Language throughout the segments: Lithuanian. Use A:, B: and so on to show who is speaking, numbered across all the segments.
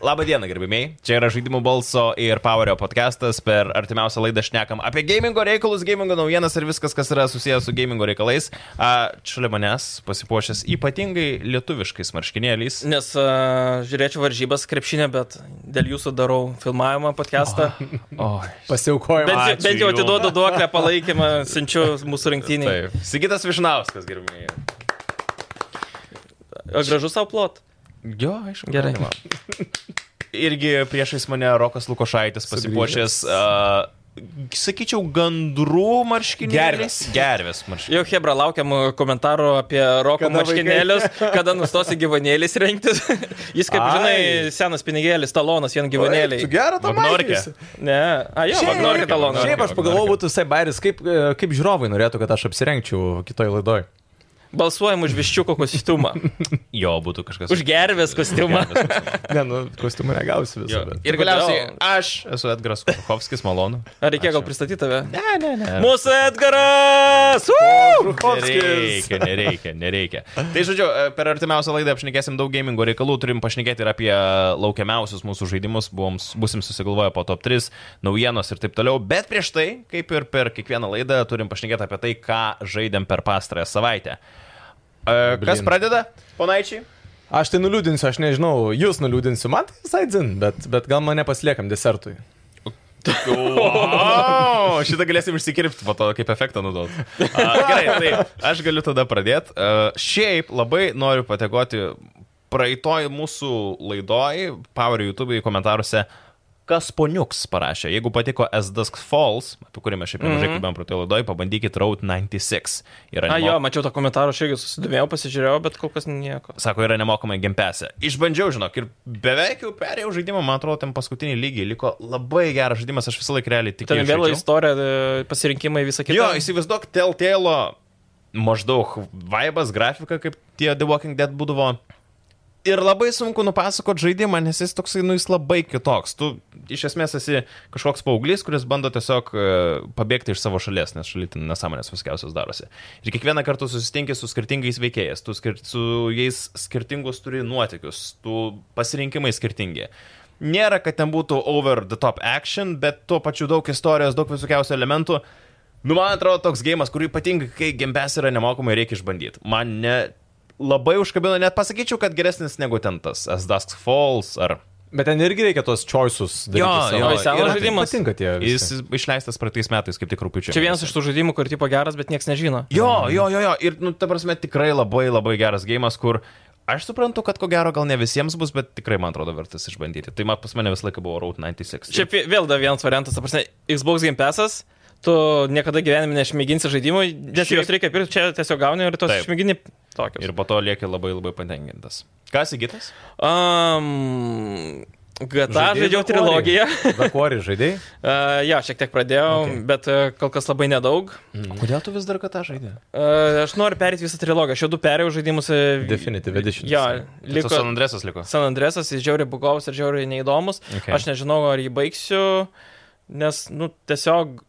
A: Labą dieną, gerbimiai. Čia yra žaidimų balso ir Powerio podcastas. Per artimiausią laidą šnekam apie gamingo reikalus, gamingo naujienas ir viskas, kas yra susijęs su gamingo reikalais. A, šalia manęs pasipuošęs ypatingai lietuviškais marškinėliais.
B: Nes uh, žiūrėčiau varžybas krepšinę, bet dėl jūsų darau filmavimą, podcastą.
A: O,
B: Bent,
A: Ačiū
B: jau- bent jau
A: jum.
B: atiduodu duoklę palaikymą, siunčiu mūsų rinktinį.
A: taip. Sigitas Višnauskas, gerbimiai.
B: Gražus savo plot.
A: Jo, aišku.
B: Gerai.
A: galima. Irgi priešais mane Rokas Lukošaitis pasipuošęs. Uh, Sakyčiau, gandrų marškinėliais.
C: Gervės.
A: Gervės marškinėliais.
B: Jau Hebra laukiam komentarų apie roko
C: Kada vaikai-
B: marškinėlius, kada nustosi gyvanėlis rengtis. Jis, kaip
A: Ai.
B: žinai, senas pinigėlis, talonas, vien
C: Tu
B: gyvanėliai.
C: gerą tą
A: Vagnorkė.
C: maikį.
B: Ne, a jo,
C: Šiaip-
B: Magnorka talonas.
C: Šiaip aš
A: Vagnorkė.
C: pagalvojau, būtų visai bairis, kaip, e, kaip žiūrovai norėtų, kad aš apsirengčiau kitoj laidoj.
B: Balsuojam už viščiuko kostiumą,
A: Jo, būtų kažkas.
B: už gervės kostiumą.
A: Gervės.
C: Ne, nu, kostiumą negausiu
A: Jo.
C: visą. Bet.
A: Ir galiausiai aš esu Edgaras Kuchovskis, malonu.
B: Ar reikėjo gal pristatyti tave?
A: Ne, ne, ne.
B: Mūsų Edgaras! Woo!
C: Ruchovskis.
A: Nereikia, nereikia, nereikia. Tai žodžiu, per artimiausią laidą apšnekėsim daug gamingo reikalų, turim pašnekėti ir apie laukiamiausius mūsų žaidimus, buvom, busim susigalvoję po top 3, naujienos ir taip toliau, bet prieš tai, kaip ir per kiekvieną laidą, turim pašnekėti apie tai, ką žaidėm per pastarąją savaitę. E, Kas
C: Blin.
A: pradeda, ponaičiai?
C: Aš tai nuliūdinsiu, aš nežinau, jūs nuliūdinsiu, man tai visai dzin, bet, bet gal mane pasiliekam desertui.
A: O, Oh, šitą galėsim išsikirpti po to, kaip efektą naudot. A, gerai, tai aš galiu tada pradėti. Šiaip labai noriu patekoti praeitoj mūsų laidoj, Power YouTube komentaruose. Kas poniuks parašė, jeigu patiko S-Dusk Falls, apie kurį mes šiaip nemažai mm -hmm. kalbėjom praeitoje laidoje, pabandykit Road 96. Yra
B: Mhm. A
A: nemo-
B: jo, mačiau tą komentarą, aš irgi susidomėjau, pasižiūrėjau, bet kol kas nieko.
A: Sako, yra nemokamai gempesė. Išbandžiau, žinok, ir beveik jau perėjau žaidimą, man atrodo, ten paskutinį lygį liko labai geras žaidimas, aš visą laiką realiai tikiu.
B: Ten vėl
A: žaidžiau.
B: istorija, e, pasirinkimai, visą kitą.
A: Jo, įsivaizduok Telltale maždaug vaibas, grafika, kaip tie The Walking Dead būdavo. Ir labai sunku nupasakot žaidimą, nes jis toksai, nu jis labai kitoks. Tu iš esmės esi kažkoks paauglys, kuris bando tiesiog e, pabėgti iš savo šalies, nes šalia ten nesąmonės viskiausios darosi. Ir kiekvieną kartą susitinkė su skirtingais veikėjais, tu skir su jais skirtingus turi nuotykius, tu pasirinkimai skirtingi. Nėra, kad ten būtų over the top action, bet tuo pačiu daug istorijos, daug visokiausių elementų. Nu, man atrodo, toks gėjimas, kurį ypatingai, kai gembes yra nemokamai, reikia išbandyti. Man ne, labai užkabino, net pasakyčiau, kad geresnis negu ten tas As Dusk Falls ar...
C: Bet ten irgi reikia tos choices. daryti
A: Jo,
C: savo.
A: jo,
C: Ir
B: senas
C: man tai
B: žaidimas.
C: Patinka tie.
A: Jis
C: Visi.
A: išleistas praeitais metais, kaip tik rūpiučio.
B: Čia vienas iš tų žaidimų, kur tipo geras, bet niekas nežino.
A: Jo, jo, jo, jo. Ir, nu, ta prasme, tikrai labai labai geras gėjimas, kur aš suprantu, kad ko gero gal ne visiems bus, bet tikrai, man atrodo, vertas išbandyti. Tai man pas mane visą laiką buvo Route 96.
B: Čia vė- vėl dar vienas variantas, ta prasme, Xbox Game Passas, tu niekada gyvenime neišmėginsi žaidimų, nes
A: Šiaip-
B: Šiaip... jos reikia pirkti, čia tiesiog gauni ir tos
A: Taip.
B: išmėgini tokius.
A: Ir po to lieki labai labai patenkintas. Kas įgytas?
B: Um, GTA žaidžiau trilogiją.
C: Vakuori žaidėjai.
B: Uh, jo, šiek tiek pradėjau, okay.
C: Okay.
B: bet uh, kol kas labai nedaug.
A: Mm. Kodėl tu vis dar ką tą žaidė?
B: Uh, aš noriu perėti visą trilogiją, aš jau du perėjau žaidimus. e,
C: Definitive Edition.
B: Jo,
A: Liko...
B: liko
A: San Andresas liko.
B: San Andresas, jis žiauriai bugovas ir žiauriai neįdomus.
A: Okay.
B: Aš nežinau, ar jį baigsiu, nes, nu, tiesiog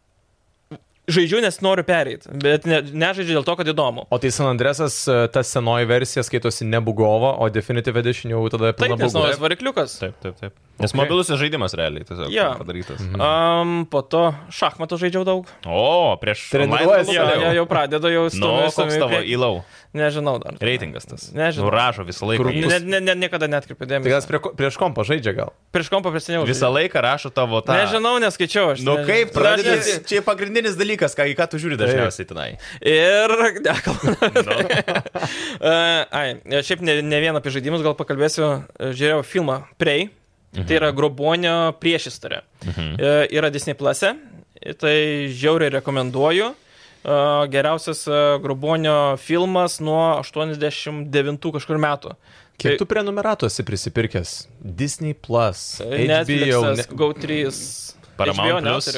B: žaidžiu, nes noriu pereiti, bet ne, nežaidžiu dėl to, kad įdomu.
C: O tai San Andresas, e, ta senoji versija skaitosi ne Bugova, o Definitive Edition jau tada
B: Taip,
C: pilna
B: nes
C: Bugova.
B: naujas varikliukas.
A: tai Taip, taip, taip. Mhm. Nes okay.
C: Okay.
A: mobilusis žaidimas realiai tiesiog
B: Jo.
A: padarytas.
B: Um, po to šachmatų žaidžiau daug.
A: O, prieš
C: Treniruojasi.
B: Jo, jo, jau pradedu, jau
A: Nu, koks tavo
B: stumiu.
A: įlau?
B: Nežinau dar.
A: Reitingas tas.
B: Nežinau.
A: Nu, rašo visą laiką.
C: Kur-
A: Jis
B: Ne, ne, ne, niekada netkreipiu
C: Tai gal jis
B: dėmesio.
C: prie, ko- prieš kompą žaidžia gal?
B: Prieš kompą prisimenu.
A: Visą laiką rašo tavo tą.
B: Nežinau, neskaičiau aš.
A: Nu
B: nežinau.
A: kaip, pradedi,
B: Dažniausiai-
A: čia pagrindinis dalykas, ką, į ką tu žiūri dažniausiai tenai.
B: Ir... Ne, kalbam.
A: Nu,
B: Uh, ai, šiaip ne, ne vien apie žaidimus gal pakalbėsiu. E, Žiūrėjau filmą Prey. Tai yra grobonio priešistorė. Mhm. Yra Disney Plus'e. Tai žiauriai rekomenduoju. E, Geriausias e, grobonio filmas nuo 89 kažkur metų.
C: Kiek
B: Tai-
C: tu prenumeratų esi prisipirkęs? Disney Plus, HBO,
B: Tai Netflix'as,
C: ne-
B: Go3.
A: Paramount Plus.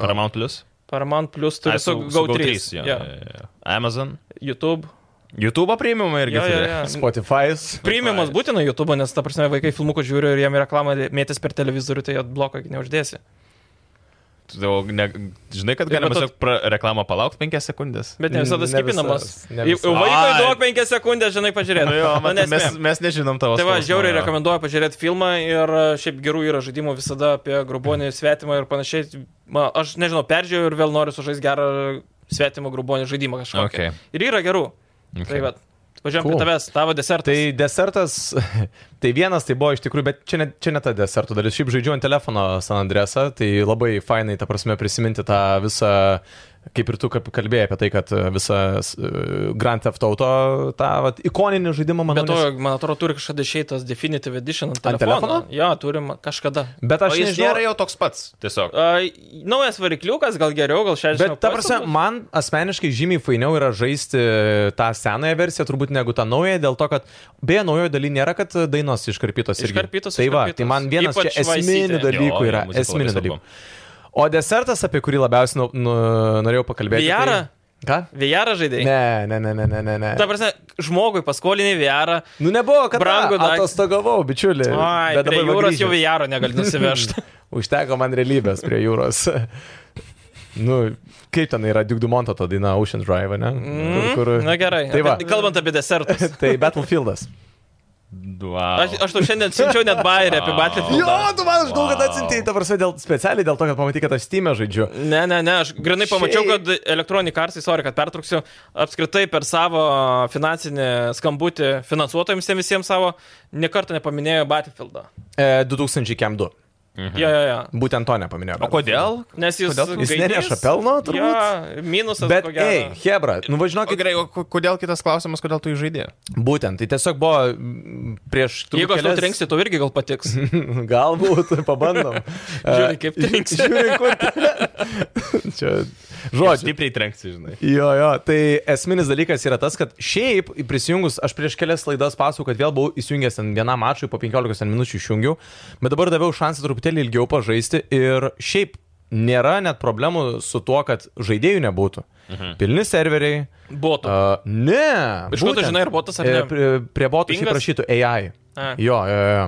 A: Paramount Plus.
B: Paramount Plus turi
A: Ai,
B: su Go3.
A: jo,
B: Jo.
A: jo, jo. Amazon.
B: YouTube.
A: YouTube premiumą irgi.
B: Jo, jo,
A: turi.
B: jo.
C: Spotify's.
B: Priimimas būtina YouTube, nes ta prasme vaikai filmuko žiūri ir jiem reklamą mėtis per televizorių, tai atbloko neuždėsi.
A: tu jau ne, žinai, kad
B: Ir
A: galima
B: po to-
A: tiesiog pra- reklamą palaukti 5 sekundės.
B: Bet ne visada
C: Ne
B: skipinamas.
C: visas, ne
B: Jau
C: visas.
B: vaikui
A: Ai.
B: duok 5 sekundės, žinai, pažiūrėti.
A: Nu jo, man, mes, mes nežinom tavo.
B: Tai va,
A: skausmo,
B: žiauriai
A: jo.
B: rekomenduoju pažiūrėti filmą ir e, šiaip gerų yra žaidimų visada apie grubonį svetimą ir panašiai. Ma, aš nežinau, peržiūrėjau ir vėl noriu sužaisti gerą svetimą grubonį žaidimą kažkokį.
A: Okay.
B: Ir yra gerų. Okay. Tai va, važiuojam cool.
C: Cool.
B: prie tavęs, tavo desertas.
C: Tai desertas, tai vienas tai buvo iš tikrųjų, bet čia ne, čia ne ta deserto dalis. Šiaip žaidžiu ant telefono San Andresą, tai labai fainai, ta prasme, prisiminti tą visą, kaip ir tu kap- kalbėjai apie tai, kad visą Grand Theft Auto, tą vat, ikoninį žaidimą, manau.
B: Bet to, man atrodo, turi kažkada išeitas Definitive Edition ant
C: Ant
B: telefono.
C: telefono?
B: Jo, turim kažkada.
C: bet
A: Aš
C: aš
A: jis nėra
C: nežinau.
A: jau toks pats, tiesiog.
B: Uh, naujas varikliukas, gal geriau, gal 60.
C: Bet ta prasme, man asmeniškai žymiai fainiau yra žaisti tą senąją versiją, turbūt negu tą naują, dėl to, kad beje, naujojo daly nėra, kad dainos iškarpytos ir
B: Iškarpytos,
C: Tai va,
B: iškarpytos.
C: tai man vienas
B: Ypač
C: čia esminių
B: Vice City.
C: dalykų
A: Jo,
C: yra.
A: jo, muzika labai
C: Esminių
A: svarbu.
C: dalykų. O desertas, apie kurį labiausiai nu, nu, norėjau pakalbėti.
B: Vijarą?
C: Tai... Ką?
B: Vėjarą žaidėjai.
C: Ne, ne, ne, ne, ne, ne. ne.
B: Ta prasme, žmogui paskolinį vėjarą.
C: Nu nebuvo, kad
B: Brangų daik-
C: atostogavau, bičiuli.
B: Ai,
C: bet
B: prie
C: dabar va
B: jūros jau
C: grįžęs.
B: vėjaro negali nusivežti.
C: Užteko man realybės prie jūros. nu, kaip ten yra Dugdumonto ta daina Ocean Drive, ne?
B: Mm, Na gerai.
C: Tai va.
B: Apie- Kalbant apie desertus.
C: tai Battlefieldas.
A: Wow.
B: Aš, aš tau šiandien siunčiau net bairį apie
C: Jo,
B: Battlefield.
C: tu man žinau, kad
A: Wow.
C: atsintėjai, ta prasme, dėl, specialiai dėl to, kad pamatai, kad aš Steam'e žaidžiu.
B: Ne, ne, ne, aš grinai pamačiau,
C: Šiaip.
B: kad Electronic Arts, sorry, kad pertrauksiu, apskritai per savo finansinį skambutį finansuotojams tiem visiems savo, niekartą nepaminėjo Battlefieldą.
C: E, 2002.
B: Mhm. Jo, jo, jo.
C: Būtent to nepaminėjau.
A: O kodėl?
B: Nes jis...
A: Kodėl tu-
C: Jis
B: gaidys.
C: neneša pelno, turbūt?
B: Jo, minusas,
C: Bet,
B: ko
C: ei, nu,
B: gero.
C: Hebra,
A: O
C: nuvažiuokit
A: gerai, o ko- kodėl kitas klausimas, kodėl tu jį žaidė?
C: Būtent, tai tiesiog buvo mm, prieš... turbūt
B: Jeigu aš
C: kelias-
B: nutrinksiu, tau irgi gal patiks.
C: Galbūt, pabandom.
B: Žiūri, kaip trenksi.
C: Žiūrėk, kur. Čia. Žodžiu.
A: Stipriai trenkti, žinai.
C: Jo, jo, tai esminis dalykas yra tas, kad šiaip prisijungus, aš prieš kelias laidas pasakojau, kad vėl buvau įsijungęs ten vienam mačui, po 15 ten minučių išjungiau, bet dabar daviau šansą truputėlį ilgiau pažaisti ir šiaip nėra net problemų su tuo, kad žaidėjų nebūtų. Mhm. Pilni serveriai.
B: Botų.
C: Uh, ne.
B: Iš kur tu
C: būtent.
B: žinai, ar botas ar ne?
C: E, Prie, prie botų šiaip
B: Pingas?
C: rašytų AI.
B: A.
C: Jo, jo, jo.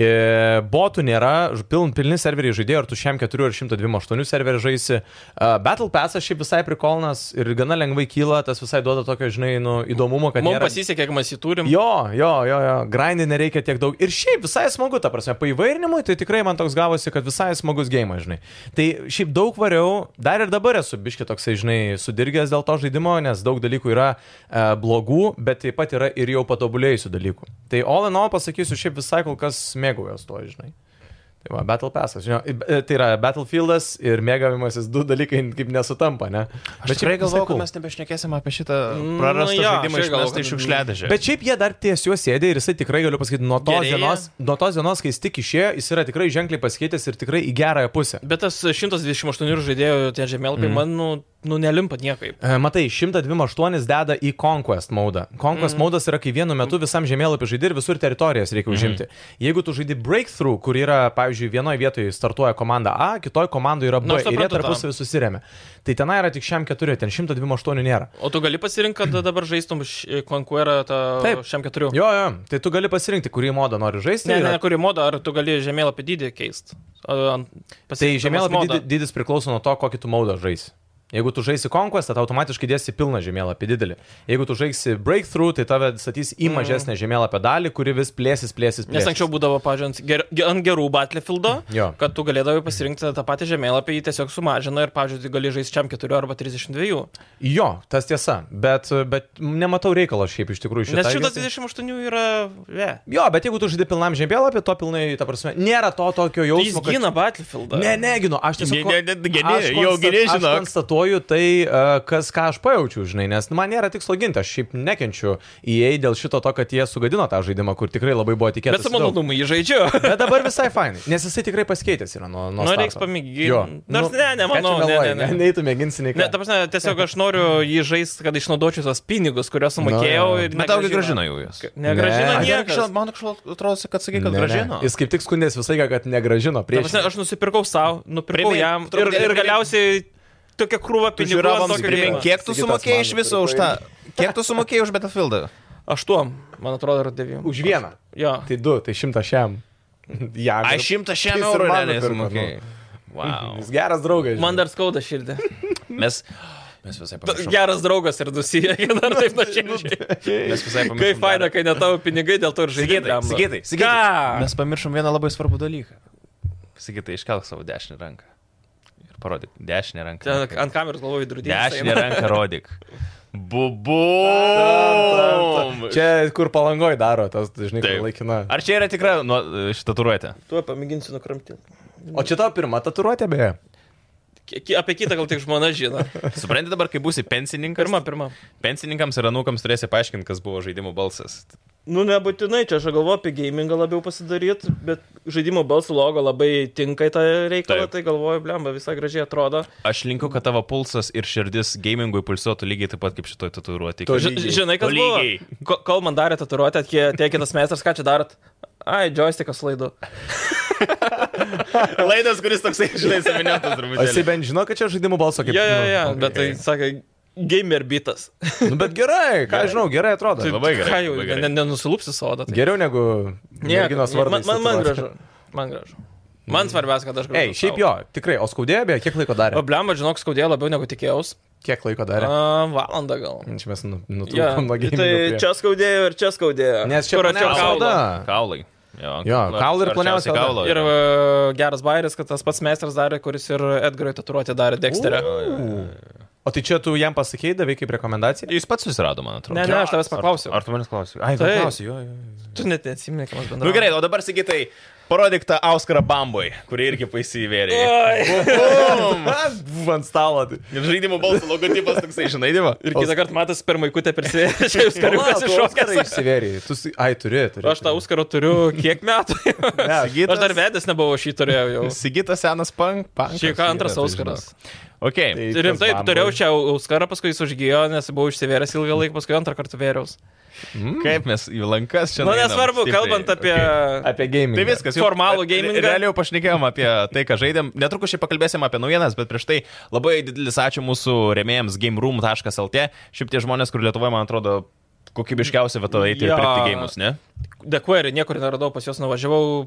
C: E, Botų nėra, ž- piln, pilni serveriai žaidėjai, ar tu šiam 4 ar 128 serverį žaisi. Uh, Battle Passas šiaip visai prikolnas ir gana lengvai kyla, tas visai duoda tokio, žinai, nu, įdomumo, kad...
B: Mums
C: nėra-
B: pasisekė, kad mes jį turim.
C: Jo, jo, jo, jo, grindai nereikia tiek daug. Ir šiaip visai smagu, ta prasme, paivairinimui, tai tikrai man toks gavosi, kad visai smagus gėjimas, žinai. Tai šiaip daug variau, dar ir dabar esu biški toksai, žinai, sudirgęs dėl to žaidimo, nes daug dalykų yra e, blogų, bet taip pat yra ir jau patobulėjusių dalykų. Tai all in all pasakysiu, šiaip visai kol kas mėgaujas to, žinai. Tai va, Battle Passas, žinai, tai yra Battlefieldas ir mėgavimasis du dalykai kaip nesutampa, ne?
A: Aš
C: šiaip
A: tikrai galvoju,
C: visai
A: kad
C: cool.
A: mes nebešnekėsim apie šitą
B: Nu,
A: prarastą
B: jo, aš
A: žaidimą
B: irgi galvoju,
A: išmestą iš
B: kad-
A: šiukšliadėžę.
C: Bet šiaip jie dar ties juos sėdė ir jisai tikrai, galiu pasakyti, nuo tos,
B: Gerėja.
C: dienos, nuo tos dienos, kai jis tik išėjo, jis yra tikrai ženkliai pasikeitęs ir tikrai į gerąją pusę.
B: Bet tas 128 žaidėjų tie
C: Mhm.
B: žemėlapiai mm. man, nu, nu, nelimpa niekaip.
C: E, Matai, 128 deda į Conquest modą. Conquest
B: Mhm.
C: mm. modas yra, kai vienu metu visam žemėlapį žaidži ir visur teritorijas reikia užimti.
B: Mhm.
C: Jeigu tu žaidži Breakthrough, kur yra, pavyzdžiui, vienoje vietoje startuoja komanda A, kitoje komandoje yra
B: Nu,
C: B
B: aš
C: ir jie
B: suprantu tą.
C: tarpusavį susiremia, tai tenai yra tik šiam keturi, ten 128 nėra.
B: O tu gali pasirinkti, kad dabar žaistum š- e, Conquerą tą
C: Taip.
B: šiam keturiu.
C: Jo, jo, tai tu gali pasirinkti, kurį modą nori žaisti.
B: Ne,
C: yra
B: ne, ne, kurį modą, ar tu gali žemėlapį dydį keisti?
C: Tai žemėlapio dydis, dydis priklauso nuo to, kokį tu modą žaisi. Jeigu tu žaisi Conquest, tai automatiškai dėsi pilną žemėlapį didelį. Jeigu tu žaisi Breakthrough, tai tave statys į mažesnę žemėlapio dalį, kuri vis plėsis, plėsis, plėsis.
B: Mm. Nes anksčiau būdavo, pažiūrėjau, ger, ge- ant gerų Battlefieldo,
C: Jo.
B: kad tu galėdavai pasirinkti tą patį žemėlapį, jį tiesiog sumažina ir, pažiūrėjau, gali žaisti šiam keturiu arba 32.
C: Jo, tas tiesa, bet, bet nematau reikalo šiaip iš tikrųjų šitą.
B: Nes 128 yra... Ve.
C: Jo, bet jeigu tu žaidi pilnam žemėlapį, to pilnai, ta prasme, nėra to tokio
B: Jis
C: jausmo. kad-
B: gina Battlefieldą.
C: Ne, neginu, aš tiesiog...
A: Ne, ne, ne, gini,
C: aš
A: jau
C: konstat-
A: gini,
C: Aš
A: žinok.
C: konstatuoju tai, e, kas, ką aš pajaučiu, žinai, nes nu, man nėra tikslo ginti, aš šiaip nekenčiu įėjai dėl šito to, kad jie sugadino tą žaidimą, kur tikrai labai buvo
B: Bet
C: tikėtas.
B: su malonumu jį žaidžiu.
C: Bet dabar visai fainai, nes jisai tikrai pasikeitęs yra nuo... nuo
B: Nu, reiks
C: starto.
B: pamėgint.
C: Jo. nu,
B: Nors ne, nemanau,
C: ką čia
B: ne,
C: meluoji,
B: ne, ne.
C: Nei tu mėginsi, nei ką.
B: Ne, ta prasme, tiesiog aš noriu jį žaisti, kad išnaudočiau tos pinigus, kuriuos sumokėjau.
C: Na, jo.
B: ir
A: Bet tau gi gražino jau jas.
B: Negražina
C: Ne.
A: Ai,
B: niekas.
A: kažkodėl- Man kažkaip atrodo, kad sakai, kad
C: Ne, ne.
A: gražino.
C: Jis kaip tik skundės visą laiką, kad negražino
B: Ta prasme,
C: prieš.
B: aš nusipirkau savo, nupirkau
A: Primink,
B: jam ir,
A: truputėlį
B: ir
A: primink.
B: galiausiai tokia krūva
A: Tu
B: pinigų. ant
A: žiūrovams
B: tokio
A: primink,
B: gėrimo.
A: kiek tu
C: Sigitas
A: sumokėjai iš
C: Mantas
A: viso už tą... Kiek tu sumokėjai už Battlefieldą?
B: Aštuom, man atrodo, yra devym.
C: Už vieną.
B: Jo.
C: Tai du, tai šimtą šiam. Jam.
A: Ai, šimtą
C: Jis
A: šiam
C: ir
A: eurų
C: man
A: realiai
C: nupirko, nu.
A: sumokėjai. Wow.
C: Jis geras draugas.
A: Tai-
C: žinai.
B: Man dar skauda širdį.
A: Mes, mes visai pamiršom.
B: Geras draugas ir dusija, dar taip nuoširdžiai.
A: Mes visai pamiršom.
B: Kaip faina,
A: dar-
B: kai ne tavo pinigai, dėl to ir žaidėjai.
A: Sigitai, Sigitai, Sigitai.
B: Ką?
A: Mes pamiršom vieną labai svarbų dalyką. Sigitai, iškelk savo dešinę ranką. Ir parodyk. Dešinę ranką.
B: Ten Ant kameros galvoju, drudė.
A: Dešinę ranką rodyk.
C: Tam, tam,
A: Bubu.
C: tam. Čia kur palangoj daro, tas, žinai,
A: Taip.
C: kur laikina.
A: Ar čia yra tikra nu, šitaturuotė?
B: Tuo pamėginsiu nukramti.
C: O čia tavo pirma tatuiruotė, beje.
B: Apie kitą gal tik žmona žino.
A: Supranti dabar, kai būsi pensininkas?
B: Pirma, pirma.
A: Pensininkams ir anūkams turėsi paaiškinti, kas buvo žaidimų balsas.
B: Nu, nebūtinai, čia aš galvoju apie gamingą labiau pasidaryti, bet žaidimo balsų logo labai tinka į tą reikalą,
A: Taip.
B: tai galvoju, blemba, visai gražiai atrodo.
A: Aš linkiu, kad tavo pulsas ir širdis gamingui pulsuotų lygiai taip pat kaip šitoj tatuiruotė.
C: Tu
B: Ži
C: Lygiai.
B: žinai, kas
A: Tolygiai.
B: buvo? Ko- Kol man darė tatuiruotę, tie tie kitas meistras, ką čia darot? Ai, joystickas laidu.
A: Laidas, kuris toksai, žinai, seminėtas
C: O jisai
A: turbūt.
C: bent žino, kad čia žaidimų balso kaip.
B: Jo, jo,
C: nu,
B: jo,
C: okei.
B: bet tai sakė, gamer bitas.
C: Nu, bet gerai, ką žinau, gerai atrodo.
A: Tai- Labai gerai,
B: Ką jau,
A: labai gerai.
B: ne- nenusilupsi sodą. Tai.
C: Geriau negu
B: man,
C: merginos vardas.
B: man, man gražu. Man gražu. Man svarbiausia, kad aš gražu.
C: Ei, šiaip jo, tikrai, o skaudėjo, beje, kiek laiko
B: O
C: darė?
B: blemba, žinok, skaudėjo labiau negu tikėjaus.
C: Kiek laiko darė?
B: A, valandą gal.
C: Čia mes nu-
B: Jo,
C: nutrūkom nuo gėrimų.
B: tai čia skaudėjo ir čia skaudėjo.
C: Nes čia
B: Kur
C: mane
B: atėjo
C: apsauda.
B: kaulas.
A: Kaulai. Jo,
C: Jo, kaulai ir ploniausia oda.
A: kaulo.
B: Ir
A: yra.
B: e, geras bairis, kad tas pats meistras darė, kuris ir Edgarui tatuiruotė darė Dexterę.
C: O tai čia tu jam pasakėjai, davai kaip rekomendaciją?
A: Jis pats susirado, man atrodo.
B: Ne, ne, aš tavęs
A: Ar-
B: paklausiau.
A: Ar tu manęs klausiu? Ai,
B: Taip.
A: paklausiu, jo, jo.
B: Tu net neatsimeni, ką mes
A: Na
B: bendravome.
A: nu, gerai, o dabar sakytai, parodyk tą Auskarą Bambui, kurį irgi paisivėrė.
C: Ant stalo. tai.
A: Ir žaidimų balsų logotipas toksai, žinai, diva.
B: Ir kitą kartą matas per maikutę persėdė, jūs
C: Pala,
B: kariukas
C: tu
B: iššokęs.
C: Oskarą Išsivėrė. Tu, si- ai, turi, turi.
B: Aš tą Auskarą turiu kiek metų.
A: Sigitas,
B: Aš dar vedęs nebuvau, šį turėjau jau.
A: Sigitas senas punk. punkas.
B: Šį ką antras
A: Sigitas,
B: Auskaras.
A: žinok. Ok.
C: Tai
B: Ir Rimtai
C: tas
B: turėjau
C: bamboj.
B: čia Auskarą, paskui jis užgyjo, nes buvau išsivėręs ilgą laiką, paskui antrą kartą vėriaus.
A: Kaip mes į lankas čia
B: Na,
A: nueinam
B: nesvarbu,
A: stipriai.
B: kalbant apie...
A: Okay.
C: Apie gaming.
A: Tai viskas. jau-
B: Formalų
A: re-
B: gamingą.
A: Realiai jau pašnekėjom apie tai, ką žaidėm. Netrukus šiaip pakalbėsim apie naujienas, bet prieš tai labai didelis ačiū mūsų remėjams gameroom.lt. Šiaip tie žmonės, kur Lietuvoje, man atrodo, kokybiškiausia vieta eiti ir
B: Jo.
A: pirkti gėjimus, ne?
B: Dekuerį niekur neradau, pas juos nuvažiavau,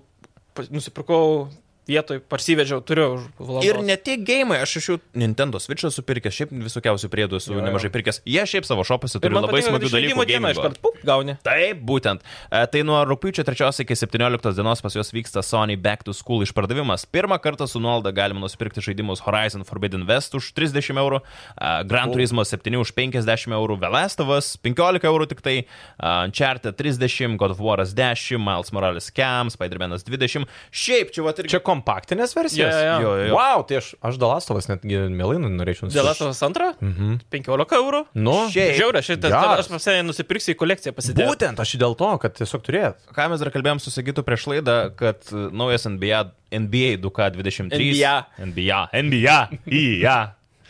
B: pas- nusipirkau vietoj, parsivežiau, turiu už valandą.
A: Ir ne tik gėjimai, aš iš jų Nintendo Switch esu pirkęs, šiaip visokiausių priedų esu
C: Jo, jo.
A: nemažai pirkęs. Jie šiaip savo šopose turi labai smagių dalykų.
B: Dieną iš
A: gamingo.
B: karto pup gauni.
A: Taip, būtent. E, Tai nuo rūpiučio 3 iki 17 dienos pas juos vyksta Sony Back to School išpardavimas. Pirmą kartą su nuolada galima nusipirkti žaidimus Horizon Forbidden West už 30 eurų, e, Gran Turismo 7 už 50 eurų, Velastovas 15 eurų tik tai, e, Uncharted 30, God of War 10, Miles Morales Cam, Spider-Man'as 20. Šiaip čia va ir
C: Čia kompaktinės versijos?
B: Jo,
A: jo, jo.
C: Wow, tai aš, aš Dalastovas netgi mielai nu- norėčiau
B: Dėl atos antrą? Mhm. 15 eurų.
C: Nu,
A: Šiaip. Taip.
B: Žiauriai, šitą
C: Geras.
B: aš pasienį nusipirksiu į kolekciją pasidėti.
C: būtent aš jį dėl to, kad tiesiog turėt.
A: Ką mes dar kalbėjom su Sigitu prieš laidą, kad e, naujas NBA, NBA 2K23.
B: NBA.
A: NBA. NBA. IA.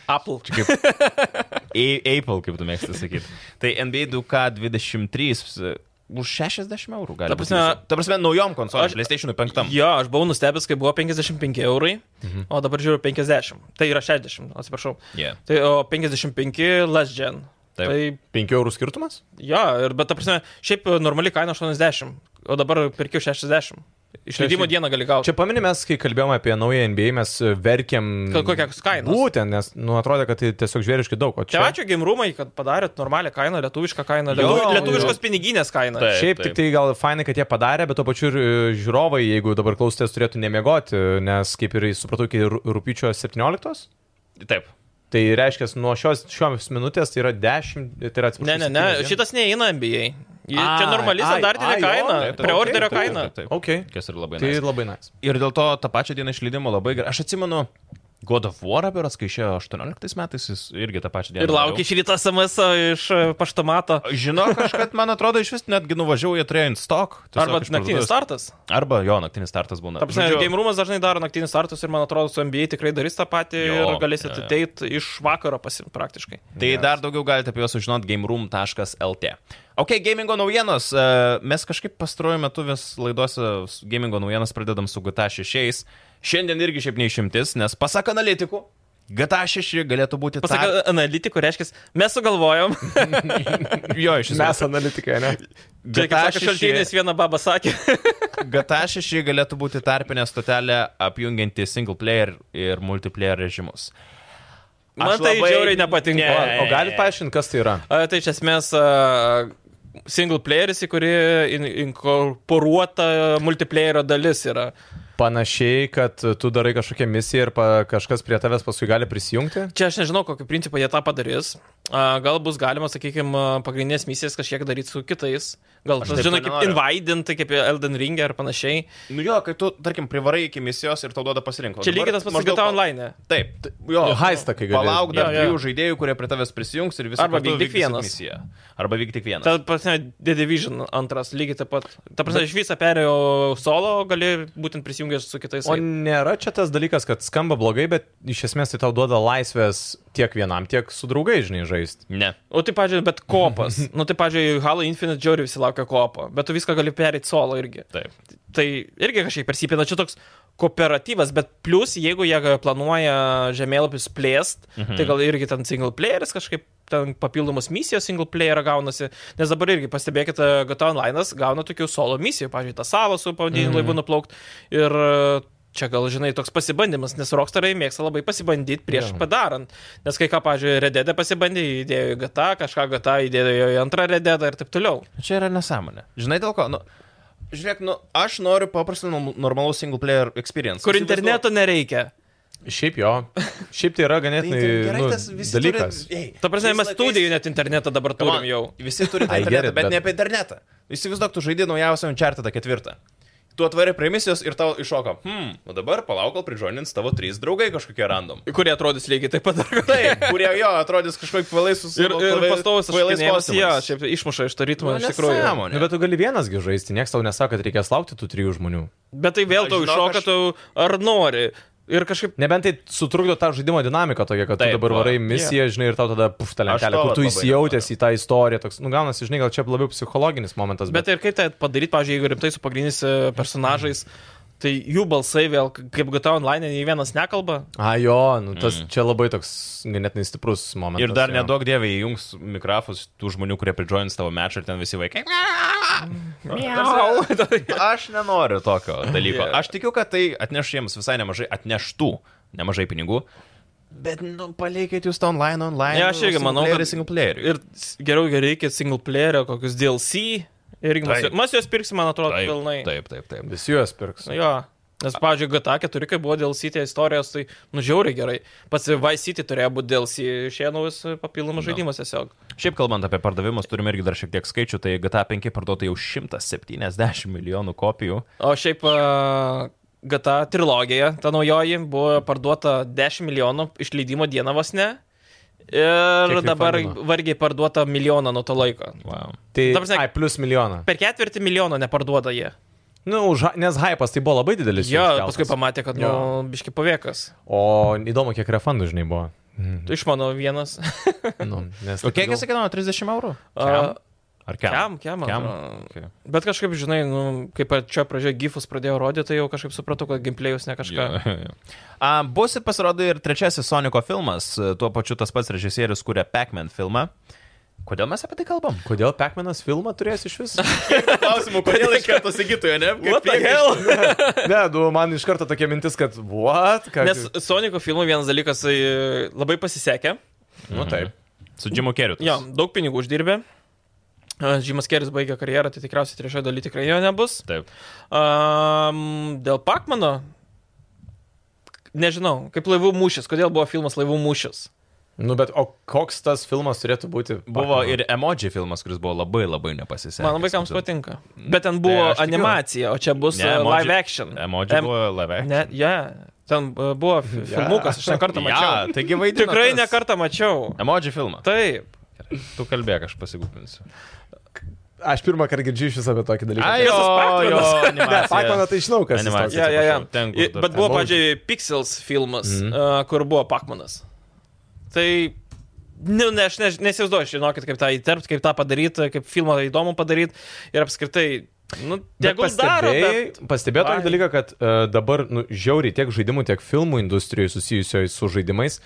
B: Apple.
A: Čia kaip. A- Apple, kaip tu mėgsti sakyti. Tai NBA 2K23 e, už 60 eurų
B: Ta
A: galima.
B: prasme-
A: ta prasme, naujom
B: Aš-
A: konsolėm, PlayStation 5.
B: Jo, aš buvau nustebęs, kai buvo 55 eurai, mhm. o dabar žiūriu 50. Tai yra 60, atsiprašau.
A: Yeah.
B: Tai o 55 last gen.
A: Taip.
B: Tai
C: 5 eurų skirtumas?
B: jo, ir, bet ta prasme, šiaip normali kaina 80, o dabar pirkiu 60. Išleidimo
C: šiaip-
B: dieną gali gauti.
C: Čia paminimės, kai kalbėjom apie naują NBA, mes verkiam.
B: Ka- kokios kainos?
C: Būtent, nes, nu, atrodo, kad tai tiesiog žvėriškai daug. O
B: Čia
C: čia,
B: ačiū gimrumai, kad padarėt normalią kainą, lietuvišką kainą,
A: Jo,
B: lietuvi,
A: jo.
B: lietuviškos piniginės kainą.
A: Taip.
C: šiaip tik tai gal fainai, kad jie padarė, bet to pačiu ir e, žiūrovai, jeigu dabar klausotės, turėtų nemiegoti, nes kaip ir supratau, iki ru- rūpiučio 17.
A: Taip.
C: Tai reiškia, nuo šios, šios minutės tai yra 10, tai yra atsiprašau.
B: Ne, ne, ne, šitas neįeina NBA. Ji- Čia
C: Ai,
B: normali
C: ai,
B: standartinė
C: ai, jo,
B: kaina,
C: taip, taip,
B: preorderio
C: taip, taip,
B: kaina.
A: Taip, taip.
C: Okay.
A: Kas ir labai.
C: Tai
A: nice.
C: labai nice.
A: Ir dėl to tą pačią dieną išleidimo labai gerai. Aš atsimenu, God of War beras, kai išėjo 18 metais, jis irgi tą pačią dieną.
B: Ir laukia šį rytą SMS iš e, paštomato.
A: Žinau, kažkaad, man atrodo, iš vis netgi nuvažiavau, jie turėjo in stock. tiesiog
B: Arba
A: iš parduotuvės.
B: naktinis startas.
A: Arba jo, naktinis startas būna.
B: Ta prasme,
A: Žodžiu,
B: Game Roomas dažnai daro naktinius startus ir man atrodo, su NBA tikrai darys tą patį
A: Jo,
B: ir galėsit
A: jo, jo.
B: ateiti iš vakaro pasim praktiškai.
A: Tai yes. dar daugiau galite apie juos sužinoti gameroom.lt. Ok, gamingo naujienos. E, Mes kažkaip pastaruoju metu vis laidose s- gamingo naujienas pradedam su GTA 6. Šiandien irgi šiaip neišimtis, nes pasak analitikų, GTA 6 galėtų būti
B: Pasak analitikų, reiškia, mes sugalvojom,
A: Pasak, jo, iš esmės.
C: Mes analitikai, ne?
B: čia kaip
A: GTA
B: sakė
A: 6
B: šaltinis vieną babą sakė,
A: GTA 6 galėtų būti tarpinė stotelė apjungianti single player ir multiplayer režimus.
B: man
A: Aš
B: tai
A: labai-
B: žiauriai nepatinka.
A: Ne.
C: O, o galit paaiškinti, kas tai yra?
B: A, Tai iš esmės a, single playeris, į kurį in- inkorporuota multiplayerio dalis yra.
C: Panašiai, kad tu darai kažkokią misiją ir pa, kažkas prie tavęs paskui gali prisijungti?
B: Čia aš nežinau, kokiu principu jie tą padarys. A, Gal bus galima, sakykime, pagrindinės misijas kažkiek daryti su kitais. Gal,
A: Aš
B: tu
A: taip
B: žinai,
A: to
B: kaip
A: nenoriu.
B: invaidinti, kaip Elden Ring ar panašiai.
A: Nu jo, kai tu, tarkim, privarai iki misijos ir tau duoda pasirinkti.
B: Čia lygiai tas pats su GTA Online.
A: Taip, t- jo,
C: Jo, haistą, kai gali.
A: Palauk dar
B: Jo, jo.
A: dviejų žaidėjų, kurie prie tavęs prisijungs ir visą
B: Arba vyk tik vienas.
A: Misiją. Arba vyk tik vienas.
B: Ta prasme, The Division antras lygiai taip pat. Ta prasme, iš viso perėjau solo, gali būtent prisijungęs su kitais.
C: O nėra čia tas dalykas, kad skamba blogai, bet iš esmės tai tau duoda laisvės tiek vienam, tiek su draugai, žinai, žaisti.
A: Ne.
B: O tai, pažiūrėjau, bet kopas. nu, tai, pažiūrėjau, Halo Infinite Jury visi laukia kopo, bet tu viską gali perėti solo irgi.
A: Taip.
B: Tai irgi kažkaip persipina, čia toks kooperatyvas, bet plus, jeigu jie planuoja žemėlapius plėst, mhm. tai gal irgi ten single playeris kažkaip ten papildomos misijos single player gaunasi, nes dabar irgi e, pastebėkite, GTA Online gauna tokių solo misijų, pavyzdžiui, tą salą su pavadinimu mm. laivu nuplaukt ir e, čia gal, žinai, toks pasibandymas, nes Rockstarai mėgsta labai pasibandyti prieš
C: Jo.
B: yeah. padarant, nes kai ką, pavyzdžiui, Rededė pasibandė, įdėjo į GTA, kažką GTA įdėjo į antrą Rededą ir taip toliau.
A: Čia yra nesąmonė. Žinai dėl ko? Nu, žiūrėk, nu, aš noriu paprastą norm- normalų single player experience.
B: Kur
A: Įsivaizduok-
B: interneto nereikia.
C: Šiaip jo. Šiaip tai yra
A: Tai
C: ganėtinai
A: inter- gerai,
C: nu,
A: tas visi
C: dalykas.
A: turi- ei,
B: Ta prasme,
A: šiais
B: mes
A: laikais-
B: studijų net internetą dabar
A: Come on,
B: turim jau.
A: Visi turi tą
C: I get
A: internetą,
C: it,
A: bet
C: bet-
A: ne apie internetą. Įsivaizduok, tu žaidė naujausią Uncharted ketvirtą. Tu atvarai prie misijos ir tau iššoka. Hmm, o dabar palauk, kol prižonins tavo trys draugai kažkokie random.
B: kurie atrodys lygiai taip pat.
A: Taip, kurie jo atrodys kažkokie kvailai
B: Ir,
A: susirinkę.
B: ir pastovus aštuonėlis, jie šiaip išmuša iš to ritmo,
A: Nu,
B: iš tikrųjų.
A: nesąmonė.
C: Nu, bet tu gali vienasgi žaisti, niekas tau nesako, kad reikės laukti tų trijų žmonių.
B: Bet tai vėl
A: Aš
B: tau
A: žinok,
B: iššoka,
A: aš-
B: tu ar nori. Ir kažkaip
C: Nebent tai sutrukdo tą žaidimo dinamiką tokia, kad
A: Taip,
C: Taip, tu dabar
A: va.
C: varai misiją, yeah. žinai, ir tau tada puf, ta
A: Aš to
C: lentelė, kur
A: vat
C: tu
A: labai
C: įsijautęs į tą istoriją, toks, nu, gaunasi, žinai, gal čia labiau psichologinis momentas,
B: Bet
C: bet...
B: ir kaip tai padaryti, pavyzdžiui, jeigu rimtai su pagrindiniais e, personažais, tai jų balsai vėl, k- kaip GTA online, nei vienas nekalba.
C: A, jo, nu, tas mm. čia labai toks ganėtinai stiprus momentas.
A: Ir dar
C: jo.
A: nedaug dievė įjungs mikrofus tų žmonių, kurie pridžoins tavo mečą ir ten visi vaikai. Aš nenoriu tokio dalyko.
B: Yeah.
A: Aš tikiu, kad tai atneš jiems visai nemažai, atneštų nemažai pinigų. Bet, nu, paliekit jūs tą online, online.
B: Ne, Tai aš irgi manau,
A: single
B: kad-
A: playerį, single playerį.
B: Ir s- geriau gerai reikia single playerio, kokius DLC. Irgi mes,
A: Taip.
B: mes juos pirksim, man atrodo,
A: taip,
B: pilnai.
A: Taip, taip, taip.
C: Visi juos pirks.
B: Nu jo. Nes, pavyzdžiui, GTA 4, kai buvo DLC tie istorijos, tai nužiauriai gerai. Pats Vice City turėjo būti DLC, išėjo naujas papildomas
C: Nu.
A: Jo.
B: žaidimas e, tiesiog.
A: Šiaip kalbant apie pardavimus, turime irgi dar šiek tiek skaičių, tai GTA 5 parduota jau 170 milijonų kopijų.
B: O šiaip e, a, GTA trilogija, ta naujoji, buvo parduota 10 milijonų išleidimo dieną vos ne. Ir
C: Kiek
B: dabar
C: refunino?
B: vargiai parduota milijoną nuo to laiko.
A: Wow.
C: Tai,
B: Ta prasme-
C: ai, plus milijoną.
B: Per ketvirtį milijono neparduoda jie.
C: Nu, už, hy- nes hypas tai buvo labai didelis.
B: Jo,
C: jų iškeltas.
B: paskui pamatė, kad, nu,
C: Jo.
B: biški pavėkas.
C: O įdomu, kiek refundų, žinai, buvo. Mm.
B: Tu iš mano vienas.
C: nu, nes...
A: O kiek jis kainavo? 30 eurų?
B: A,
A: Ar kiam?
B: Kiam, kiam,
A: Kiam?
B: kiam.
A: Okay.
B: Bet kažkaip, žinai, nu, kaip čia pradžioje gifus pradėjo rodyti, tai jau kažkaip supratau, kad gameplayus ne kažką. Yeah.
A: A, bus ir pasirodo ir trečiasis Soniko filmas, tuo pačiu tas pats režisierius kūrė Pac-Man filmą. Kodėl mes apie tai kalbam?
C: Kodėl Pekmenas filmą turės iš viso?
A: Klausimų, kodėl iš karto sakytojo, ne?
B: What the hell?
C: ne, du, man iš karto tokia mintis, kad what? Ką...
B: Nes Soniko filmų vienas dalykas tai labai pasisekė.
C: nu taip.
A: Su Džimu Keriu.
B: Jo, daug pinigų uždirbė. Žymas Keris baigė karjerą, tai tikriausiai trečioje dalyje tikrai jo nebus.
A: Taip.
B: Um, dėl Pakmano, nežinau, kaip laivų mūšis, kodėl buvo filmas laivų mūšis.
C: Nu, bet o koks tas filmas turėtų būti?
A: Buvo
C: Pacmano?
A: ir emoji filmas, kuris buvo labai labai nepasisekęs.
B: Man vaikams patinka. Bet ten buvo
A: Mm. aš tikiu.
B: animacija, o čia bus
A: Ne,
B: ne,
A: emoji-
B: live action.
A: Emoji
B: Em-
A: buvo labai.
B: Ne, ja. Ten uh, buvo fi- filmukas, aš ne kartą
A: Ja,
B: mačiau.
A: taigi vaidino.
B: Tikrai
A: tas.
B: ne kartą mačiau.
A: Emoji filmą.
B: Taip.
A: Tu kalbėk, aš pasigūpinsiu.
C: Aš pirmą kartą girdžiu iš viso apie tokį dalyką.
A: Ai, jo, jo,
C: ne, Pakmaną tai žinau, kas jis
A: Animacija.
C: toks.
B: Ja, ja, ja.
A: Atsiprašau, ten, kur
B: I-
A: dar
B: Bet
A: ten
B: buvo,
A: laužė.
B: pažiūrėjau, Pixels filmas, mm.
C: Mhm.
B: uh, kur buvo Pakmanas. Tai, nu, ne, aš ne, nesivizduoju, žinokit, kaip tą įterpti, kaip tą padaryti, kaip filmą įdomu padaryti ir apskritai. Nu,
C: Bet
B: tegul daro,
C: pastebėjai-
B: bet...
C: Pastebėjau
B: Ai.
C: tokį dalyką, kad uh, dabar nu, žiauriai tiek žaidimų, tiek filmų industrijoje susijusioje su žaidimais.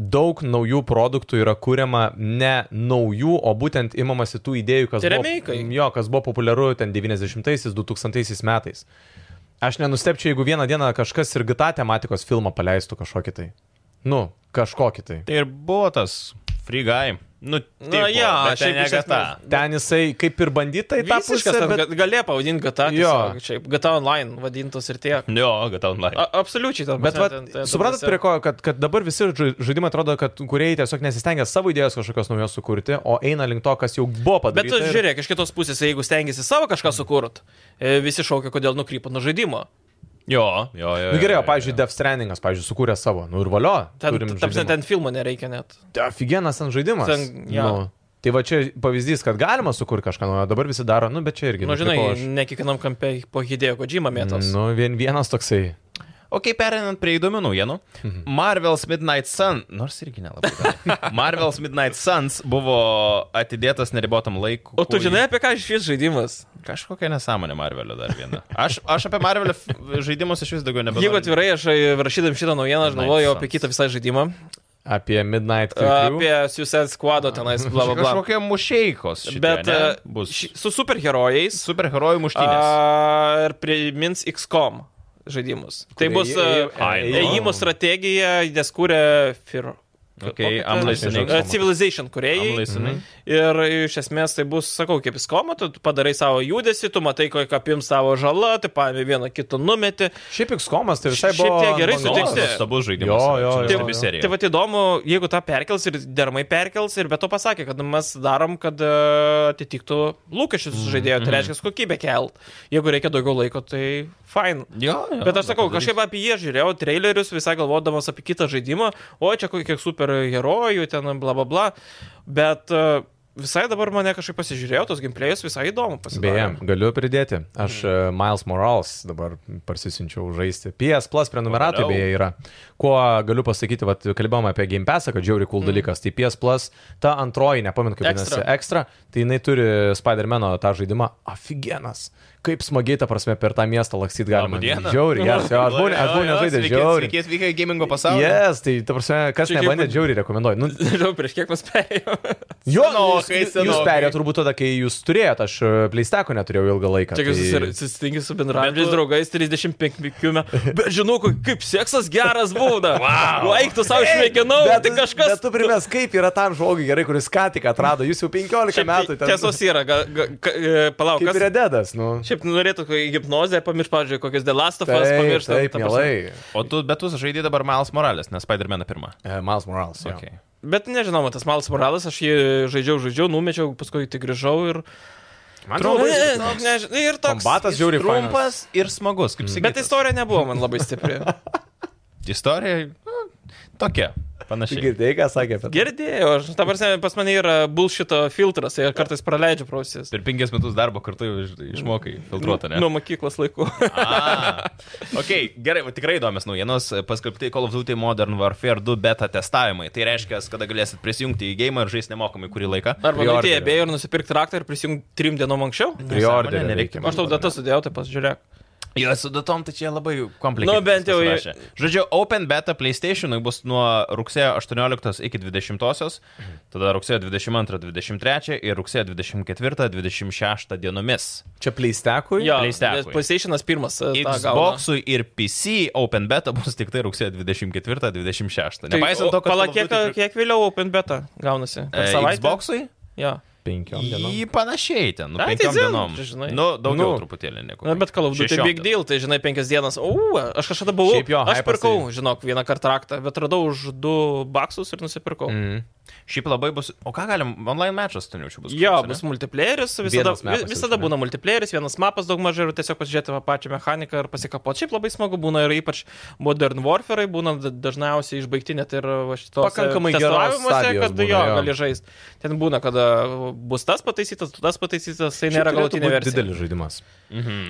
C: Daug naujų produktų yra kuriama ne naujų, o būtent imamasi tų idėjų, kas
B: Tai
C: buvo,
B: remake'ai.
C: jo, kas buvo populiaru ten 90-aisiais, 2000-aisiais metais. Aš nenustepčiau, jeigu vieną dieną kažkas ir GTA tematikos filmą paleistų kažkokį tai. Nu, kažkokį tai.
A: Tai ir buvo tas free guy. Nu, taip,
B: Na, jo,
A: bet ten
B: šiaip
A: ne
B: iš
A: gata.
B: esmės-
C: Ten jisai kaip ir bandytai tą pusę,
B: Visiškas,
C: bet...
B: bet... galėjo pavadinti GTA,
C: Jo.
B: tiesiog, šiaip GTA Online vadintos ir tiek.
A: Jo, gata online.
B: A, absoliučiai, tam
C: Bet vat, suprantat, prie ko, kad, kad dabar visi žai- žaidimai atrodo, kad kuriejai tiesiog nesistengia savo idėjos kažkokios naujos sukurti, o eina link to, kas jau buvo
B: Bet tu
C: padaryta. ir-
B: žiūrėk, iš kitos pusės, jeigu stengiasi savo kažką sukurt, e, visi šaukia, kodėl nukrypo nuo žaidimo.
A: Jo, jo, jo.
C: Nu gerai, o,
A: jo,
C: pavyzdžiui, Death Strandingas, pavyzdžiui, sukūrė savo, nu ir valio.
B: Ten,
C: turim
B: ta prasme,
C: žaidimą.
B: ten filmo nereikia net.
C: Tai Aфиgenas ten žaidimas.
B: Ten, jo.
C: nu, tai va čia pavyzdys, kad galima sukurti kažką naujo, dabar visi daro, nu bet čia irgi.
B: Na, nu, žinai,
C: tipo,
B: ne kiekvienam kampe po Hidėjo Kodžymą mėtos.
C: Nu, vien vienas toksai.
A: Ok, perinant prie įdomių naujienų.
B: Mhm.
A: Marvel's Midnight Sun, nors irgi nelabai. gal. Marvel's Midnight Suns buvo atidėtas neribotam laikui.
B: O tu žinai, apie ką šis žaidimas?
A: Kažkokia nesąmonė Marvelio dar viena. Aš, aš apie Marvelio f- žaidimus iš vis daugiau nebežinau.
B: Jeigu atvirai, aš e, rašydam šitą naujieną,
A: Midnight
B: aš galvojau apie
A: Suns.
B: kitą visą žaidimą.
C: Apie Midnight Crew.
B: Apie Suicide Squad tenais, bla bla bla.
A: Kažkokie mušeikos. Šitie,
B: Bet
A: ne,
B: e,
A: bus.
B: ši- su superherojais
A: Superherojų muštynės.
B: a, ir primins XCOM žaidimus. Tai
C: Kurie
B: bus
C: įėjo-
B: a,
A: Ai, nu.
C: įėjo-
B: ėjimo strategija, nes kūrė Fir.
A: Okay,
B: kokia
A: I'm
B: ten?
A: listening.
B: A, Civilization
A: I'm
B: kuriejai.
A: listening.
B: Ir iš esmės tai bus, sakau, kaip XCOM, tu padarai savo judesi, tu matai, kokia apims tavo žalą, tu paėmė vieną kitą numetį.
C: Šiaip XCOM tai visai
B: Šiaip
C: buvo.
B: tiek gerai
C: ant
A: Nu,
C: bangos.
B: sutiksi.
A: Nuostabus žaidimas.
C: Jo, jo,
A: Čia
C: jo,
A: nuostabi
C: jo.
A: serija.
B: Tai va įdomu, jeigu tą perkels ir dermai perkels ir be to pasakė, kad mes darom, kad e, atitiktų lūkesčius mm. žaidėjo,
A: mhm.
B: tai reiškia kokybę kelt. Jeigu reikia daugiau laiko, tai fine.
A: Jo, jo,
B: Bet aš sakau,
A: padarys.
B: kažkaip apie jį žiūrėjau, trailerius, visai galvodamas apie kitą žaidimą, o čia kokie superherojų, ten bla bla bla. Bet e, visai dabar mane kažkaip pasižiūrėjau, tos gimplėjus visai įdomu
C: Beje,
B: pasidarė.
C: galiu pridėti. Aš mm. Miles Morales dabar parsisinčiau žaisti. PS Plus prenumeratai
A: Pagaliau.
C: beje yra. Kuo galiu pasakyti, vat, kalbėjom apie Game Pass, kad žiauri cool mm. dalykas. Tai PS Plus, ta antroji, nepamenu kaip
B: Extra.
C: vadinasi, ekstra, tai jinai turi Spider-Man'o tą žaidimą. Aфиgenas. Kaip smagiai, ta prasme, per tą miestą lakstyti galima.
A: Labą dieną.
C: Žiauri, yes, jo, aš buvau, aš buvau nežaidęs žiauri.
A: Sveiki, sveiki, gamingo pasaulyje.
C: Yes, tai, ta prasme, kas
B: Čia kaip-
C: nebandė, žiauri rekomenduoju. Nu,
B: Žinau, prieš kiek mes perėjome.
C: jo, jūs,
A: Senokai,
C: jūs
A: senokai.
C: perėjo turbūt tada, kai jūs turėjote, aš e, PlayStation neturėjau ilgą laiką.
B: Čia kai
C: tai-
B: susir- susitinki su bendravimais,
A: Bet tu-
B: draugais 35 metų. Bet žinau, ko- kaip seksas geras būda. Wow. Laik tu savo išmėginau,
C: Bet
B: tai
C: tu-
B: kažkas.
C: Bet tu primės, kaip yra tam žmogui gerai, kuris ką tik atrado, jūs jau 15
B: Šiaip tai
C: metų ten.
B: Tiesos yra, ga, ga, ka, e, palauk,
C: Kaip
B: kas.
C: rededas, nu.
B: Šiaip norėtų kai hipnozę pamiršti, pavyzdžiui, kokias Delastofas
C: Taip,
B: pamiršti.
C: taip, mielai.
A: O tu, bet tu žaidži dabar Miles Morales, nes Spider-Man pirmą.
C: E, Miles Morales. jo.
A: Okay.
B: Bet nežinau, man tas Malas Moralas, aš jį žaidžiau, žaidžiau, numečiau, paskui tik grįžau ir...
C: Man
B: Atrodo,
C: labai
B: ne,
C: įdomu.
B: ne, ne, ir toks.
C: Kombatas žiauri fainas.
A: Trumpas ir smagus, kaip sakyt.
B: Bet istorija nebuvo man labai stipri.
A: Istorija nu, tokia,
C: Tu
A: panašiai.
C: Girdėjai, ką sakė apie tai?
B: Girdėjau, aš, ta prasme, pas mane yra bullshito filtras, ir kartais praleidžiu prausis.
A: Per penkias metus darbo kartu jau iš- išmokai filtruotą, ne?
B: Nuo mokyklos laikų.
A: Ok, gerai, va, tikrai įdomios naujienos. e, Paskelbti Call of Duty Modern Warfare 2 beta testavimai. Tai reiškia, kada galėsit prisijungti į gėjimą ir žaisti nemokamai kurį laiką.
B: Arba
C: Preorderio.
B: nuėti abejo ir nusipirkti raktą ir prisijungti trim dienom anksčiau.
C: Priorderį
A: Nesąmonė,
C: reikia.
A: nereikia.
B: Aš tau datą sudėjau, tai pasižiūrėk.
A: Jo, su datom, tai čia labai komplikuota.
B: Nu, bent jau-
A: Žodžiu, Open Beta PlayStationui bus nuo rugsėjo 18 iki 20, tada rugsėjo 22-23 ir rugsėjo 24-26 dienomis.
C: Čia pleistekui?
B: Jo,
A: PlayStackui.
B: nes PlayStation'as pirmas. e, tą gauna.
A: Xbox'ui ir PC Open Beta bus tik tai rugsėjo 24-26.
B: Tai,
A: Nepaisant to,
B: o,
A: kad...
B: Palauk, kiek, kiek vėliau Open Beta gaunasi? Per
A: E,
B: savaitę?
A: Xbox'ui?
B: Jo.
C: Penkiom dienom.
A: Jį panašiai ten, nu,
B: Ai, tai
A: penkiom
B: zin,
A: dienom.
B: čia žinai.
A: Nu, daugiau
C: Nu.
A: truputėlį negu.
B: Na, bet kalbu, tai
A: šešiom
B: big deal, tai žinai, penkias dienas. O, aš kažkada buvau.
C: Šiaip jo,
B: aš
C: hypas tai-
B: pirkau, žinok, vieną kartą raktą, bet radau už 2 baksus ir nusipirkau. Mm.
C: Mm.
A: Šiaip labai bus... O ką galim, online matchas, tu nejaučiu bus.
B: Jo,
A: kažkoks,
B: bus
A: ne?
B: multiplayeris, visada,
C: Vienas mapas
B: vi- visada
C: jau, žinai.
B: būna multiplayeris, vienas mapas daug mažai ir tiesiog pasižiūrėti tą pačią mechaniką ir pasikapot. Šiaip labai smagu būna ir ypač Modern Warfare būna da- dažniausiai išbaigti net ir va šitos
C: Pakankamai geros stadijos
B: kad
C: būna,
B: jo,
C: jo.
B: gali žaisti. Ten būna, kada bus tas pataisytas, tas pataisytas, tai
C: Šiaip
B: nėra
C: turėtų
B: galutinė
C: būt
B: versija. Mhm.
C: Didelis žaidimas.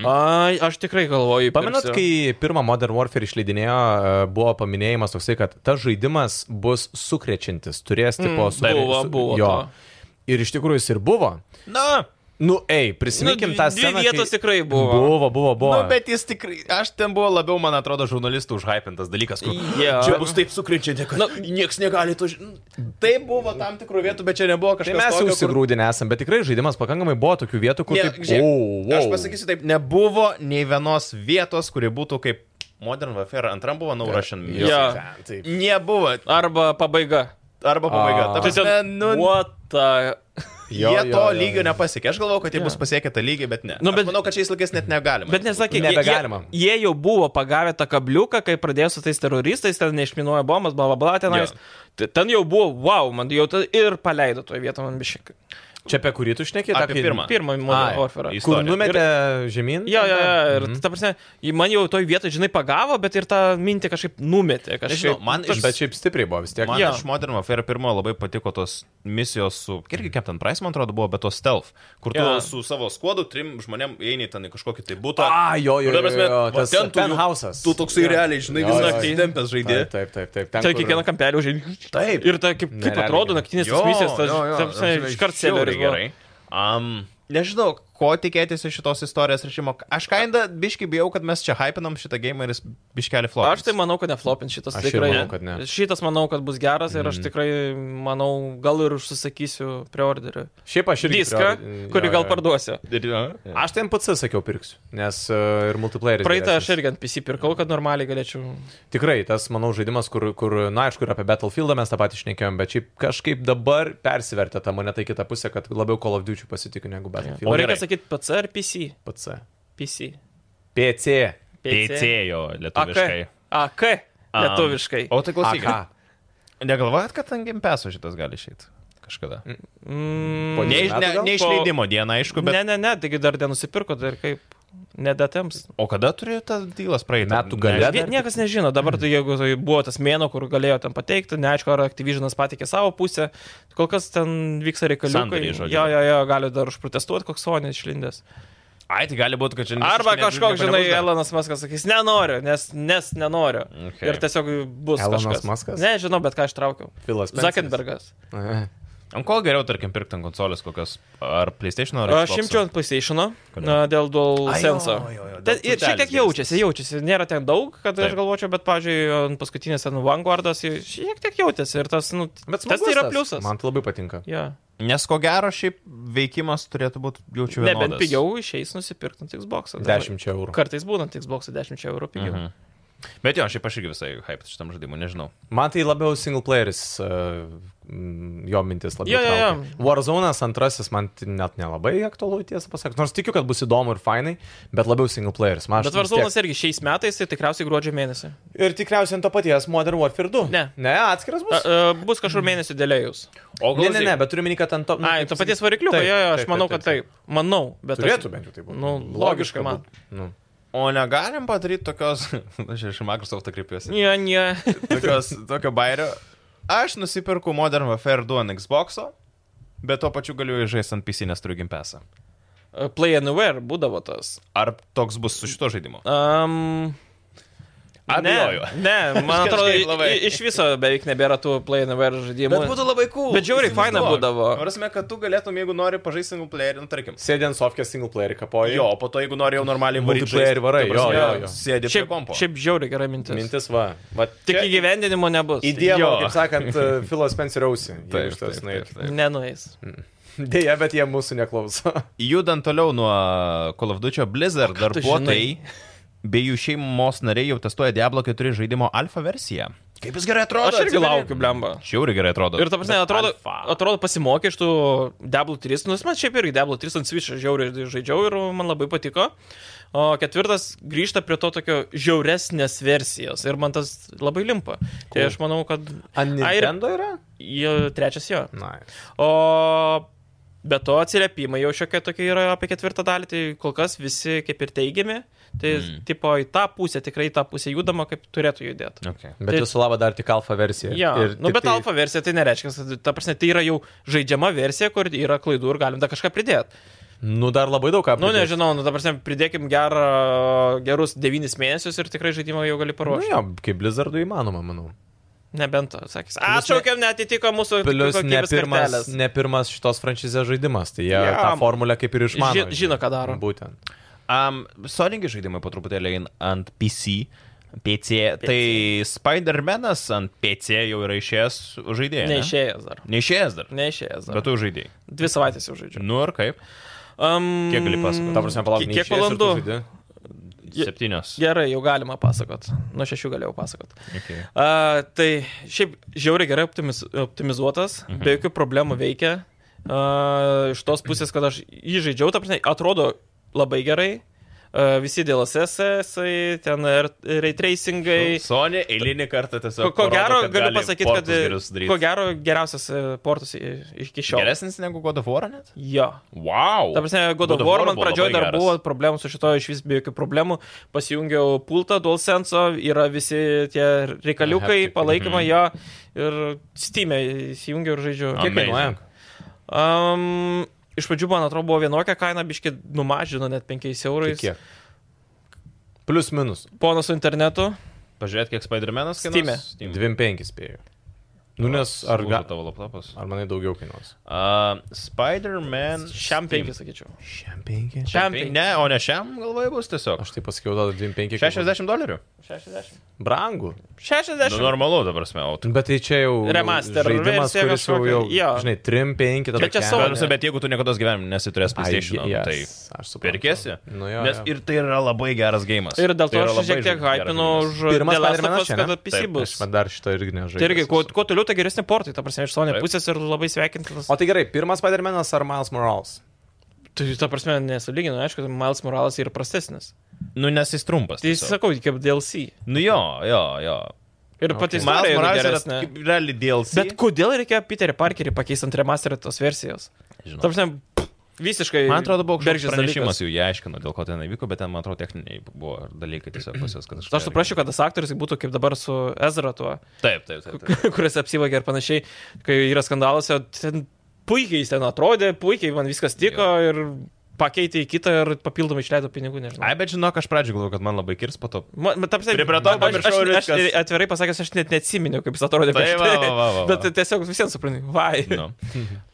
B: Ai, aš tikrai galvoju.
C: Pamenat,
B: pirksiu.
C: kai pirmą Modern Warfare išleidinėjo, e, buvo paminėjimas toksai, kad tas žaidimas bus sukrečiantis, turės tipo
B: Hmm, buvo,
C: su-
B: buvo
C: Jo.
B: to.
C: Ir iš tikrųjų jis ir buvo.
A: Na,
C: Nu, ei,
B: Nu,
C: prisiminkim
B: dvi
C: tą
B: dvi
C: sceną.
B: vietos
C: kai...
B: tikrai buvo.
C: Buvo, buvo, buvo.
A: Nu, bet jis tikrai, aš ten buvo labiau, man atrodo, žurnalistų užhypintas dalykas, kur
B: Jo.
A: čia bus taip sukrinčianti, kad
B: Nu,
A: nu, niekas negali to žinoti. Tai buvo tam tikrų vietų, bet čia nebuvo
C: Tai
A: kažkas.
C: mes jau
A: tokio, kur-
C: užsigrūdinę esam, bet tikrai žaidimas pakankamai buvo tokių vietų, kur...
A: Ne,
C: taip,
A: žiūrėk,
C: wow, wow.
A: Aš pasakysiu taip, nebuvo nei vienos vietos, kuri būtų kaip Modern Warfare, antram buvo
C: Nu,
A: No Russian
B: Jo.
A: Music. Nebuvo.
B: Arba pabaiga. Tai
A: Arba pabaiga.
C: A.
A: Ta prasme, nu,
B: What the...
A: jie
C: Jo,
A: to
C: jo, jo,
A: lygio
C: jo.
A: nepasiekė. Aš galvojau, kad jie bus pasiekę tą lygį, bet ne.
B: Nu,
A: Aš
B: bet-
A: Manau, kad šiais laikais net negalima.
B: Bet nesakė, jie-
C: Nebegalima.
B: Jie, jie jau buvo pagavę tą kabliuką, kai pradėjo su tais teroristais, ten neišminuoja bombas, bla bla bla, tenais.
A: Jo.
B: Tai Ten jau buvo, wow, man jau ta, ir paleido toje vietoje man bišik.
C: Čia apie kurį tu šnekėjai? tą,
A: Apie
C: kai-
A: pirmą.
B: Pirmą
C: Ai,
B: Modern Warfare.
A: jis-
C: Kur
A: istoriją.
C: numetė žemyn?
B: Jo, jo, jo, ir ta prasme, ji man jau toje vietoje, žinai, pagavo, bet ir tą mintį kažkaip numetė.
A: Nežinau,
B: Kažkaip.
A: man iš...
C: Bet šiaip stipriai buvo vis tiek.
A: Man
B: Jo.
A: iš Modern Warfare pirmojo labai patiko tos misijos su, irgi Captain Price, man atrodo, buvo, bet tos stealth, kur tu
B: Jo.
A: su savo skuodu, trim žmonėm eini ten į kažkokį tai būtą.
C: A, jo, jo,
A: Ir ta
C: jo,
A: prasme,
C: jo, jo.
A: va,
C: Tas
A: ten tu jau-
C: penthousas.
A: Tu toksai
B: Jo.
A: realiai, žinai,
C: Jo,
A: visą
C: jo,
A: naktį
B: jo.
A: tempęs žaidė.
C: Taip, taip, taip. taip. ten,
B: Tai
C: kur-
B: kiekvieną kampelį užėjai.
C: Taip.
B: Ir ta, kaip, kaip
C: Nerealiai
B: atrodo
C: gerai.
B: naktinės tos misijos, tas, ta prasme,
A: žinai,
B: iš karto
A: žiauriai
B: sėleriai
A: gerai. Um, nežinau, ko tikėtis iš šitos istorijos rašymo. Aš kainą biški bijau, kad mes čia hypinam šitą game ir jis biškelį flop.
B: Aš tai manau, kad neflopins šitas
C: Aš ir
B: tikrai.
C: manau, kad ne. Mhm.
B: Šitas manau, kad bus geras ir aš tikrai manau, gal ir užsisakysiu preorderį.
C: Šiaip aš irgi.
B: Diską,
C: prio- jo,
B: kurį
C: jo,
B: gal
C: jo.
B: parduosiu.
A: manau.
C: Aš ten pats sakiau pirksiu, nes uh, ir multiplayeris.
B: Praeitą aš
C: geresnis.
B: irgi ant PC pirkau, kad normaliai galėčiau.
C: Tikrai, tas, manau, žaidimas, kur, kur na, aišku, ir apie Battlefieldą mes tą patį šnekėjom, bet šiaip kažkaip dabar persivertė tą mane tai kitą pusę, kad labiau Call of Duty pasitikiu negu
B: O
C: Battlefield. e,
A: gerai.
B: reikia sakyti PC ar PC?
C: PC.
B: PC.
C: PC.
A: Pėcėjo
B: AK.
A: lietuviškai.
B: AK.
A: Am.
B: Lietuviškai.
A: O tai klausyk,
C: AK.
A: negalvojat, kad ant gimpeso šitas gali išėti kažkada?
C: Po
A: Ne,
C: dviejų
A: iš- ne,
C: metų gal?
A: ne išleidimo dieną, aišku, bet...
B: Mm, Ne, ne, ne, taigi dar nenusipirko, dar kaip. Nedatems.
A: O kada turėjo tas dylas praeiti?
C: Metų gale
A: Nežinau.
C: dar
B: Vie- Niekas nežino, dabar tai jeigu tai buvo tas mėno, kur galėjo ten pateikti, neaišku, ar Activisionas patikė savo pusę, kol kas ten vyksta reikaliukai.
A: Sandoriai, žodžiu.
B: Jo, jo, jo, gali dar užprotestuoti, koks Sonis išlindęs.
A: Ai, tai gali būti, kad čia
B: Arba
A: visiškai
B: kažkoks,
A: nieko
B: žinai,
A: nebus dar.
B: Elonas Maskas sakys, nenoriu, nes, nes nenoriu.
A: Okay.
B: Ir tiesiog bus.
C: Elonas
B: kažkas.
C: Muskas?
B: Nežinau, bet ką aš traukiau.
C: Filas. Spenceris.
B: Zuckerbergas.
C: Aha.
A: Ant ko geriau, tarkim, pirkti ant konsolės kokios? Ar PlayStation, ar...
B: Aš
A: Xbox'o?
B: imčiau ant PlayStation
A: Kodėl?
B: dėl dual
A: Ai, jo,
B: senso.
A: jo, jo, dėl
B: Ir šiek tiek
A: tūtelės
B: jaučiasi, jaučiasi. Nėra ten daug, kad aš
A: Taip.
B: galvočiau, bet, pažiūrėjau, ant paskutinės ant Vanguardas jis šiek tiek jautėsi. Ir tas, nu,
C: Bet
B: tas
C: smagus
B: tai yra pliusas.
C: Man tai labai patinka.
B: Ja.
A: Nes ko gero, šiaip veikimas turėtų būti, jaučiu, vienodas.
B: Nebent pigiau išeis nusipirkti ant Xbox. Tai
C: 10 eurų.
B: Kartais būnant Xbox 10 eurų pigiau.
A: Mhm. Bet jo, šiaip aš irgi visai hype šitam žaidimui, nežinau.
C: Man tai labiau single playeris, uh, mm, jo mintis labiau.
B: Jo, jo, jo.
C: traukia. Warzone'as antrasis man t- net nelabai aktualu, tiesą pasakius. Nors tikiu, kad bus įdomu ir fainai, bet labiau single playeris. Man
B: Bet Varzonas irgi šiais metais, tai tikriausiai gruodžio mėnesį.
C: Ir tikriausiai ant to paties Modern Warfare 2.
B: Ne.
C: Ne, atskiras
B: A, a,
C: bus.
B: e, bus kažkur mėnesį dėlėjus.
A: O
C: Ne, ne, ne, bet turiu minį, kad ant to... nu,
B: Ai,
C: kaip
B: to
C: sakyt-
B: paties varikliuko,
C: Taip,
B: jo, jo, aš
C: taip,
B: manau,
C: taip,
B: kad
C: taip.
B: taip. Manau, bet...
C: Turėtų bent jau taip būti.
B: Nu, logiška man.
C: būtų. Nu.
A: O negalim padaryti tokios, aš iš Microsoft kreipiuosi,
B: Ne, ne.
A: tokios, tokio bairio. Aš nusipirku Modern Warfare 2 ant Xbox'o, bet tuo pačiu galiu žaisti ant PC, nes turiu gimpesą.
B: Play Anywhere būdavo tas.
A: Ar toks bus su šito žaidimu?
B: Um,
A: Abejoju.
B: Ne, ne, man
A: Kažkaip
B: atrodo,
A: labai.
B: i- iš viso beveik nebėra tų Play Anywhere žaidimų.
A: Bet būtų labai cool.
B: Bet žiauriai faina būdavo.
A: Prasme, kad tu galėtum, jeigu nori, pažaisti single playerį, nu, tarkim.
C: Sėdint sofkė single playerį kapoji.
A: Jo, o po to, jeigu nori jau normaliai varyt
C: Multiplayer
A: žaist,
C: varai,
A: ta prasme,
B: jo, jo, jo.
A: Sėdi prie
B: Šiaip,
A: kompo.
B: šiaip žiauriai gera mintis.
C: Mintis va. va
B: Tik
C: čia
B: įgyvendinimo nebus. tai
C: Į dievą,
A: Jo.
C: kaip sakant, e, Filo Spenceriausi.
A: Taip, taip, taip, taip.
B: Nenueis.
A: Nu,
C: Deja, bet jie mūsų neklauso.
A: Judant toliau nuo Call of Duty, Blizzard
B: tu
A: darbuotojai bei jų šeimos nariai jau testuoja Diablo 4 žaidimo alfa versiją. Kaip jis gerai atrodo?
B: Aš irgi laukiu, blemba.
A: Šiauriai gerai atrodo.
B: Ir ta prasme,
A: Bet
B: atrodo,
A: alfa.
B: atrodo pasimokė iš tų Diablo 3, nors man šiaip irgi Diablo 3 ant Switch žiauriai žaidžiau ir man labai patiko. O ketvirtas grįžta prie to tokio žiauresnės versijos ir man tas labai limpa. Tai aš manau, kad Ai,
C: An
B: ir-
C: Nintendo yra?
B: jo, trečias jo.
C: Na.
B: O be to atsiliepimai jau šiokia tokia yra apie ketvirtą dalį, tai kol kas visi kaip ir teigiami. Tai mm. tipo į tą pusę, tikrai į tą pusę judama, kaip turėtų judėti.
A: Okay.
C: Bet
B: Tai-
C: jūsų lava dar tik alfa versija.
B: Ja,
C: Ir
B: nu,
C: tik
B: bet
C: tai-
B: tai... alfa versija tai nereiškia, kad ta prasme, tai yra jau žaidžiama versija, kur yra klaidų ir galim dar kažką pridėti.
C: Nu, dar labai daug ką.
B: Nu,
C: pridėt.
B: nežinau, nu, ta prasme, pridėkim gerą, gerus devynis mėnesius ir tikrai žaidimą jau gali
C: Nu,
B: paruošti.
C: jo, kaip Blizzardų įmanoma, manau.
B: Nebent to atsakys. Atšaukėm, netitiko mūsų
C: Plius ne
B: kokybės
C: pirmas,
B: kartelės.
C: ne pirmas šitos franšizės žaidimas, tai jie
B: Jo.
C: tą formulę kaip ir išmano.
B: Ži- žino, ką daro.
C: Būtent.
A: Um, Soningi žaidimai po truputėlį eina ant PC. PC. Tai Spider-Man'as ant PC jau yra išėjęs žaidėjas.
B: Neišėjęs dar.
A: Neišėjęs dar.
B: Neišėjęs dar.
A: Bet tu žaidėjai.
B: Dvi savaitės jau žaidžiu.
A: Nu ir kaip?
B: Um,
A: Kiek gali pasakot?
C: Ta prasme, palauk,
B: Kiek- kiek
C: neišėjęs ir tu
B: valandų?
C: žaidi?
B: Je-
A: Septynios.
B: Gerai, jau galima pasakot. Nuo šešių galėjau pasakot.
A: Okay.
B: A, tai šiaip žiauriai gerai optimiz, optimizuotas, mhm. be jokių problemų veikia. A, iš tos pusės, kad aš jį žaidžiau, ta prasme, atrodo labai gerai. A, visi DLSS, ten ir ray tracingai.
A: Sonė eilinį kartą tiesiog.
B: Ko, ko gero,
A: parodo, kad
B: galiu
A: gali
B: pasakyti,
A: portus
B: kad
A: gerus daryt.
B: ko gero geriausias e, portas i- iki šiol.
A: Geresnis negu God of War net?
B: Jo.
A: Wow.
B: Ta prasme, God of War man pradžioje dar buvo problemų su šito, iš vis be jokių problemų. Pasijungiau pultą DualSense, yra visi tie reikaliukai,
C: Haptikai.
B: palaikymai
A: mhm.
B: jo ir Steam'e įsijungiau ir
A: Am-
B: žaidžiu.
C: Kiek
A: Amazing.
C: kainuoja?
B: Um, iš pradžių, man atrodo, buvo vienokia kaina, biški numažino net 5
C: Tai
B: eurais.
C: Kiek? Plius minus.
B: Ponas su internetu.
A: Pažiūrėk, kiek Spider-Man'as
B: Steam'e.
A: kainuoja.
C: 2,5 spėjau. Nu, nes ar, ga...
A: gal tavo laptopas?
C: ar manai daugiau kainuos?
A: Uh, Spider-Man.
B: Šiam tai-
A: Steam.
B: 5, sakyčiau.
C: Šiam 5.
B: Šiam
A: Penki-
B: 5.
A: Ne, o ne šiam galvoje bus tiesiog.
C: Aš tai pasakiau, tada 2,5. kaip-
A: 60 dolerių.
B: 60.
C: Brangu.
A: Nu,
B: 60.
A: normalu, ta prasme. O tu...
C: Bet tai čia jau
B: Remaster
C: žaidimas,
B: versija
C: kuris jau,
B: kažkokia,
C: jau
B: jo.
C: žinai, 3-5 tada.
B: Bet čia
C: kem-
B: Sony.
A: Bet, prasme, bet jeigu tu niekada gyvenime nesiturės PlayStation,
C: Ai,
A: yes.
C: yes,
A: tai
C: aš suprantu.
A: pirkėsi.
C: Nu, jo,
A: Nes
C: jo.
A: ir tai yra labai geras gėjimas.
B: Ir dėl to
A: tai yra
B: aš
A: labai
B: šiek tiek
A: ža- geras
B: hypinu
A: žaidimas.
B: už
C: Pirmas Spider-Manas
B: DLSFOS,
C: čia,
B: kad
C: ne?
B: PC
A: Taip,
B: bus.
C: Man dar šito irgi nežaidžiu.
B: Tai irgi, kuo, kuo toliau, tai geresni portai, ta prasme, iš Sony
A: Taip.
B: pusės ir labai sveikintinas.
C: O tai gerai, pirmas Spider-Man'as ar Miles Morales?
B: Tai, ta prasme, nesulyginu, aišku, tai Miles Morales yra prastesnis.
A: Nu, nes jis trumpas.
B: Tai
A: tiesiog.
B: sakau, kaip DLC.
A: Nu jo, jo, jo.
B: Ir okay. pati
A: Miles
B: istorija yra
A: Morales
B: geresnė.
A: yra kaip realiai DLC.
B: Bet kodėl reikėjo Peterį Parkerį pakeisti ant remasterytos versijos?
A: Žinau.
B: Tam prasme, pff, visiškai.
A: Man atrodo, buvo kažkoks
B: bergždžias
A: pranešimas
B: dalykas.
A: jau jie aiškino, dėl ko ten įvyko, bet ten, man atrodo, techniniai buvo dalykai tiesiog pusės, kad
B: Aš suprasčiau, kad tas aktorius būtų kaip dabar su Ezra tuo,
A: Taip, taip, taip. taip.
B: kuris apsivagė ir panašiai, kai yra skandalas, jo ten puikiai jis ten atrodė, puikiai man viskas tiko ir pakeitė į kitą ir papildomai išleido pinigų, nežinau.
A: Ai, bet žinok, aš pradžioje galvojau, kad man labai kirs po to.
B: Ma- Bet tam
A: Pri- prie to
B: aš,
A: pamiršau ir
B: aš, aš
A: viskas.
B: atvirai pasakęs, aš net neatsiminiau, kaip jis atrodė
A: Tai
B: prieš
A: va,
B: tai.
A: va, va, va, va.
B: Bet tiesiog visiems suprantu, vai.
A: Nu.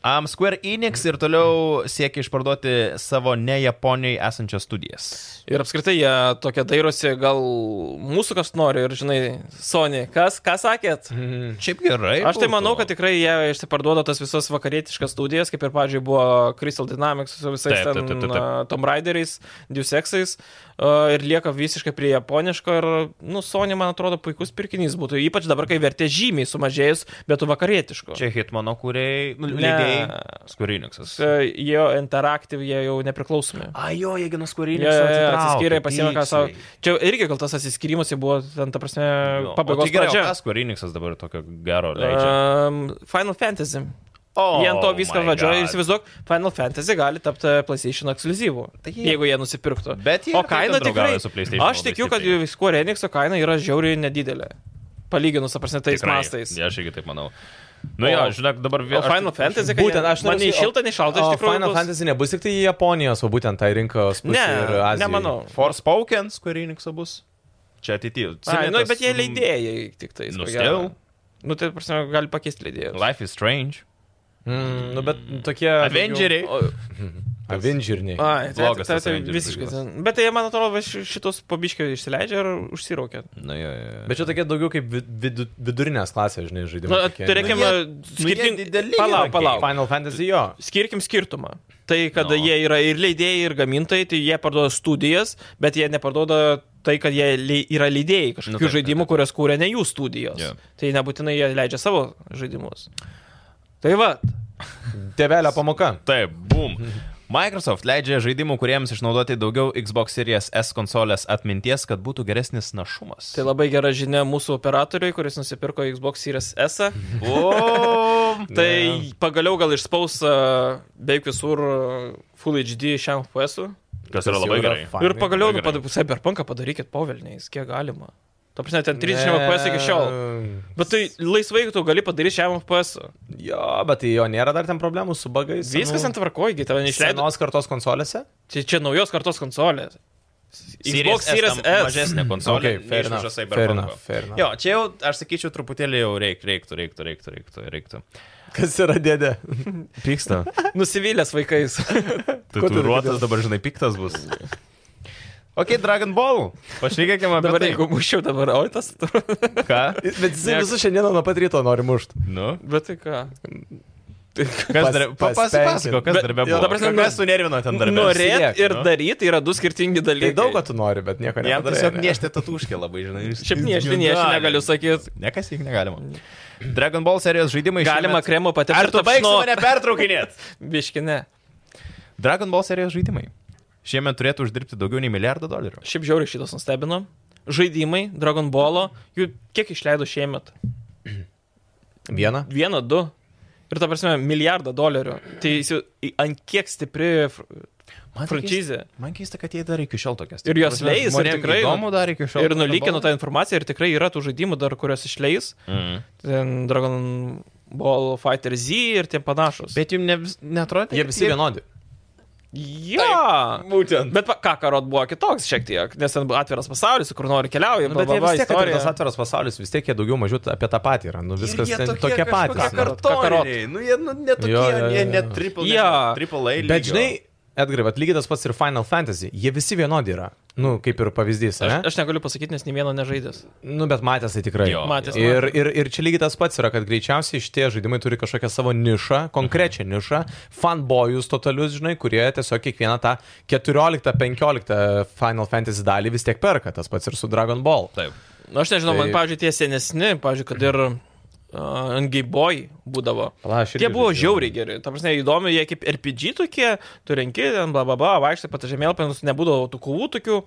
A: Um, Square Enix ir toliau siekia išparduoti savo ne Japonijoje esančias studijas.
B: Ir apskritai jie tokia dairosi, gal mūsų kas nori ir žinai, Sony, kas, ką sakėt?
A: Šiaip gerai.
B: Aš tai manau, kad tikrai jie išsiparduoda tas visas vakarietiškas studijas, kaip ir, pavyzdžiui, buvo Crystal Dynamics su visais
A: Taip,
B: taip,
A: taip,
B: ten
A: taip, taip, taip.
B: a, Tomb Raideriais, Dusexais ir lieka visiškai prie japoniško ir, nu, Sony, man atrodo, puikus pirkinys būtų, ypač dabar, kai vertė žymiai sumažėjus, bet tu vakarietiško.
A: Čia Hitmano kūrėjai, nu,
B: Ne.
A: leidėjai. Square Enixas.
B: E, Jo Interactive jie jau nepriklausomi.
A: Ajo, jie gina
C: tai
A: Square
B: Jie
A: Enixą.
B: atsiskyrė, pasiėmė ką savo. Čia irgi gal tas atsiskyrimas jau buvo, ten, ta prasme, pabaigos
A: tai gerai,
B: pradžia.
A: o ką Square Enixas dabar tokio gero leidžia.
B: Um, Final Fantasy.
A: Uh, O,
B: Oh, jie ant to viską
A: my
B: vadžioja ir
A: God.
B: įsivaizduok, Final Fantasy gali tapti PlayStation ekskluzyvu,
A: Tai jie-
B: jeigu jie nusipirktų.
A: Bet jie
B: o
A: ir taip
B: kaina
A: ten
B: tikrai.
A: draugauja su PlayStation
B: Aš
A: labai
B: tikiu, kad
A: stipriai.
B: Square Enixo kaina yra žiauriai nedidelė. Palyginus, apsne, tais
A: Tikrai,
B: mastais.
A: Aš irgi taip manau. Nu
B: O-
A: jo, žinok, dabar
B: O
A: vėl. aš
B: Final
A: taip-
B: Fantasy, kad
C: Būtent,
B: jie-
C: aš
B: man nei
C: norėsiu-
B: šilta, nei šalta,
C: O
B: tai iš tikrųjų.
C: Final
B: bus-
C: Fantasy nebus tik tai į Japonijos, o būtent tai rinkos pusė ir
B: Ne,
C: Azijai.
B: nemanau.
A: Forspoken Square Enixą bus. Čia ateityje.
B: Ai, nu, bet jie
A: mm.
B: leidėjai tik tai.
A: Nustebau.
B: Nu, tai, prasme, gali pakeisti leidėjus.
A: Life is Strange.
C: Mm, nu, bet tokie...
A: Avengeriai.
B: O,
C: daugiau- Avengeriniai.
B: ai, tai,
A: Blogas
B: tai, tai,
A: tas
B: tai
A: Avengers
B: visiškai.
A: žaidimas.
B: ten. Bet tai, man atrodo, va ši- šitos pabiškiai išsileidžia ir užsiraukia.
A: Nu, jo, jo, jo.
C: Bet čia tokie daugiau kaip vid- vidu- vidurinės klasės, žinai,
B: Na,
C: žaidimai. tokie.
B: turėkim,
A: Nu, jie- nu, jie
B: skirtingą.
A: dideli yra
B: Palauk, palauk.
C: Final Fantasy jo.
B: Skirkim skirtumą. Tai, kad
A: No.
B: jie yra ir leidėjai, ir gamintojai, tai jie parduoda studijas, bet jie neparduoda tai, kad jie lei- yra leidėjai
A: Nu,
B: kažkokių
A: taip,
B: nu,
A: taip,
B: žaidimų, kurias kūrė ne jų studijos.
A: Jo.
B: Yeah. Tai nebūtinai jie leidžia savo žaidimus. Tai va,
C: Tevelio pamoka.
A: Taip, bum. Microsoft leidžia žaidimų, kuriems išnaudoti daugiau Xbox Series S konsolės atminties, kad būtų geresnis našumas.
B: tai labai gera žinia mūsų operatoriui, kuris nusipirko Xbox Series S. -ą.
A: Mhm. Bum.
B: Tai pagaliau gal išspaus e, a, beveik visur a, e, Full HD šiam FPS.
A: Kas yra labai
C: jau
A: gerai.
C: fainai.
B: Ir pagaliau, nu,
A: gerai.
B: pad- Cyberpunką padarykit povelniais, kiek galima. Ta prasme, ten 30 FPS iki šiol. Bet tai laisvai tu gali padaryti šiam FPS. -u.
C: Jo, bet tai jo nėra dar ten problemų su bagais.
B: Viskas ant tvarkojgi, tave neišleido.
C: Senos kartos konsolėse?
B: Čia, čia naujos kartos konsolės. Xbox
A: tam
B: Series S.
A: Mažesnė konsolė,
C: Okay,
A: okay,
C: fair
A: neišmuša
C: enough,
A: Cyberpunk'o.
C: fair enough.
A: Jo, čia jau, aš sakyčiau, truputėlį jau reik, reiktų, reiktų, reiktų, reiktų, reiktų.
C: Kas yra dėdė?
A: Pyksta.
B: Nusivylęs vaikais.
A: Tu
C: Ko tu
A: turiuotas Tai dabar, žinai, piktas bus. Ok, Dragon Ball. Pašnekėkime apie
B: Dabar
A: tai.
B: jeigu mušiau dabar oitas,
A: Ką?
C: Bet jisai
B: Ne-
C: visus šiandieną nuo pat ryto nori mušti.
A: Nu,
B: bet tai ką.
A: kas tai
C: Pas-
A: dar... Papasakok, kas
B: Bet-
A: darbe
B: jo,
A: buvo.
B: ta prasme,
A: kas sunervino ten darbę?
B: Norėt
C: Siek,
B: ir
A: nu.
B: daryti yra du skirtingi
C: Tai
B: dalykai.
C: daug ko tu nori, bet nieko
A: Jam
C: nedarai,
A: tiesiog
C: ne?
A: niešti tatuškį labai, žinai. jis-
B: Šiaip
A: jis
B: niešti, niešti,
A: negali.
B: negaliu sakyti.
A: Nekas jį negalima. Dragon Ball serijos žaidimai
B: Galima
A: šiemet-
B: kremo patepti.
A: Ar tu baigsi mane pertraukinėt?
B: Biškinė.
A: Dragon Ball serijos žaidimai. Šiemet turėtų uždirbti daugiau nei milijardą dolerių.
B: Šiaip žiauriai šitas nustebino. Žaidimai, Dragon Ball, jų kiek išleido šiemet?
C: Vieną?
B: Vieną, du. Ir ta prasme, milijardą dolerių. Tai jis jau į- ant kiek stipri fr-
A: Man tai keista-
B: frančizė.
A: Man keista, kad jie dar iki šiol tokias.
B: Ir jos leis, ir
A: žmonėm
B: tikrai-
A: Įdomu dar iki šiol.
B: Ir nulykino tą informaciją, ir tikrai yra tų žaidimų dar, kurios išleis.
A: Mm.
B: Ten Dragon Ball Fighter Z ir tie panašus.
A: Bet jums ne, netrodo?
C: Jie visi vienodi.
B: Ja.
A: Būtent.
B: Bet va- Kakarot buvo kitoks šiek tiek, nes ten buvo atviras pasaulis, kur nori keliauji,
C: Nu,
B: bla,
C: bet jie
B: bla, bla,
C: vis tiek, kad ir
B: istorija.
C: tas atviras pasaulis, vis tiek jie daugiau mažiau apie tą patį yra. Nu, viskas ten tokie patys.
B: kažkokie
C: nu.
B: kart- Kakarotiniai.
A: Kakarotiniai. Nu, jie nu, netokie,
C: Jo, jo, jo,
A: jie
C: jo.
A: net triple,
B: Jo.
A: nežinau, triple A.
C: Bet žinai, Edgarai, vat lygiai tas pats ir Final Fantasy, jie visi vienodi yra. Nu, kaip ir pavyzdys,
B: Aš,
C: ne?
B: aš negaliu pasakyti, nes nei vieno nežaidęs.
C: Nu, bet matęs tai tikrai.
A: Jo,
B: Matęs, jo.
C: ir, ir, ir čia lygiai tas pats yra, kad greičiausiai šitie žaidimai turi kažkokią savo nišą, konkrečią nišą, fanbojus totalius, žinai, kurie tiesiog kiekvieną tą 14-15 Final Fantasy dalį vis tiek perka, tas pats ir su Dragon Ball.
A: Taip.
B: Nu, aš nežinau, man,
C: Tai-
B: pavyzdžiui, tie senesni, pavyzdžiui, kad ir uh, Angay Boy būdavo.
C: Pala, aš irgi
B: Jie buvo
C: žaidžiau.
B: žiauriai geri. Tam prasme, įdomi, jie kaip RPG tokie, tu renki, ten, bla, bla, bla, vaikštai, pata žemėlapinus, nu, nebūdavo tų kovų tokių,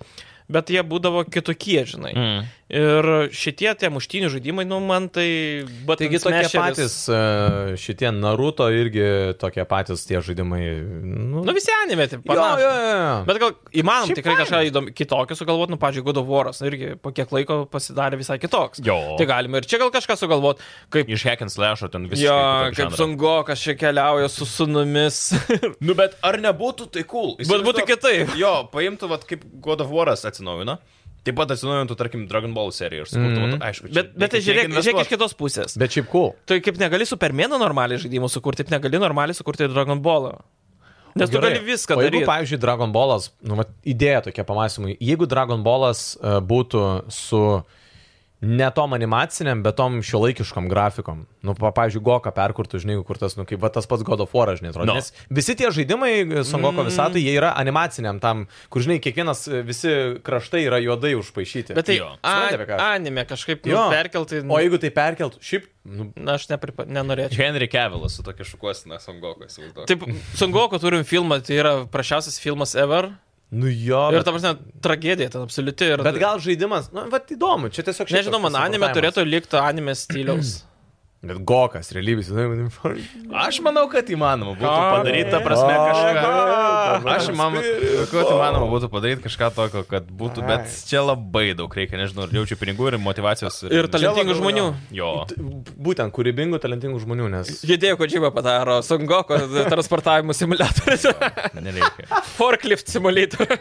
B: bet jie būdavo kitokie, žinai. Mm.
A: Mm.
B: Ir šitie tie muštinių žaidimai, nu, man tai... button
C: Taigi tokie
B: smasheris.
C: patys e, šitie Naruto irgi tokie patys tie žaidimai. Nu,
B: Nu, visi animėti,
C: jo, jo,
B: panašiai.
C: jo, jo.
B: Bet gal įmanom
C: Šiaip
B: tikrai
C: faina.
B: kažką įdomi, kitokį sugalvoti, nu, pavyzdžiui, God of War'as nu, irgi po kiek laiko pasidarė visai kitoks.
A: Jo.
B: Tai galima ir čia gal kažką sugalvoti, kaip
A: Iš hack and slash ten visi.
B: Jo, kaip sunku, kas čia keliauja su sunumis.
A: Nu, bet ar nebūtų tai cool?
B: Bet būtų
A: Įsivaizduok-
B: kitaip.
A: Jo, paimtų, vat, kaip God of War'as atsinaujino. Taip pat atsinaujintų, tarkim, Dragon Ball seriją ir sukurtų, mm
C: Mhm.
A: -hmm. aišku. čia
B: Bet, bet tai
A: reikia
B: žiūrėk,
A: tiek
B: žiūrėk iš
A: investuot.
B: kitos pusės.
C: Bet šiaip cool.
B: Tu kaip negali supermeną normaliai žaidimų sukurti, taip negali normaliai sukurti Dragon Ball'o. Nes tu
C: Gerai.
B: gali viską
C: O Jeigu,
B: daryti.
C: pavyzdžiui, Dragon Ballas, nu, vat, idėja tokia pamąstymui, jeigu Dragon Ballas uh, būtų su ne tom animaciniam, bet tom šio laikiškom grafikom, nu, pa- pavyzdžiui, Goka perkurtų, žinai, kur tas, nu, kaip va, tas pats God of War, žinai, atrodo.
A: No.
C: No. Nes visi tie žaidimai e,
B: Mm.
C: Songoko visatai, jie yra animaciniam tam, kur, žinai, kiekvienas, e, visi kraštai yra juodai užpašyti.
B: Bet tai
A: Jo.
B: a-
C: Supranti, apie ką?
B: anime kažkaip nu,
C: Jo.
B: perkelti.
C: O jeigu tai perkeltų, šiaip, nu,
B: Na, aš nepripa... nenorėčiau.
A: Henry Cavillas su tokia šukuosina Sangoku, įsivaizduoju.
B: Taip, Sungoku turim filmą, tai yra prašiausias filmas ever.
C: nu jo.
B: Ir
C: Bet,
B: ta prasme, tragedija ten absoliuti. Ir...
C: bet gal žaidimas, nu, va, įdomu, čia tiesiog šiaip
B: Nežinau,
C: toks
B: man anime
C: interpretavimas.
B: turėtų likti anime stiliaus.
C: Bet Gokas, realybės, nu, žinai,
A: Aš manau, kad įmanoma būtų
B: Ką?
A: padaryti, ta prasme, kažką. Aš manau, kad įmanoma būtų padaryti kažką tokio, kad būtų, bet čia labai daug reikia, nežinau, ir jaučiu pinigų, ir motivacijos.
B: Ir talentingų
C: labiau
B: žmonių.
C: jo.
A: Jo.
C: T- Būtent kūrybingų, talentingų žmonių, nes...
B: Judėjo kodžybą padaro Sungoko transportavimo simulatorius.
A: Nereikia.
B: Forklift simulator.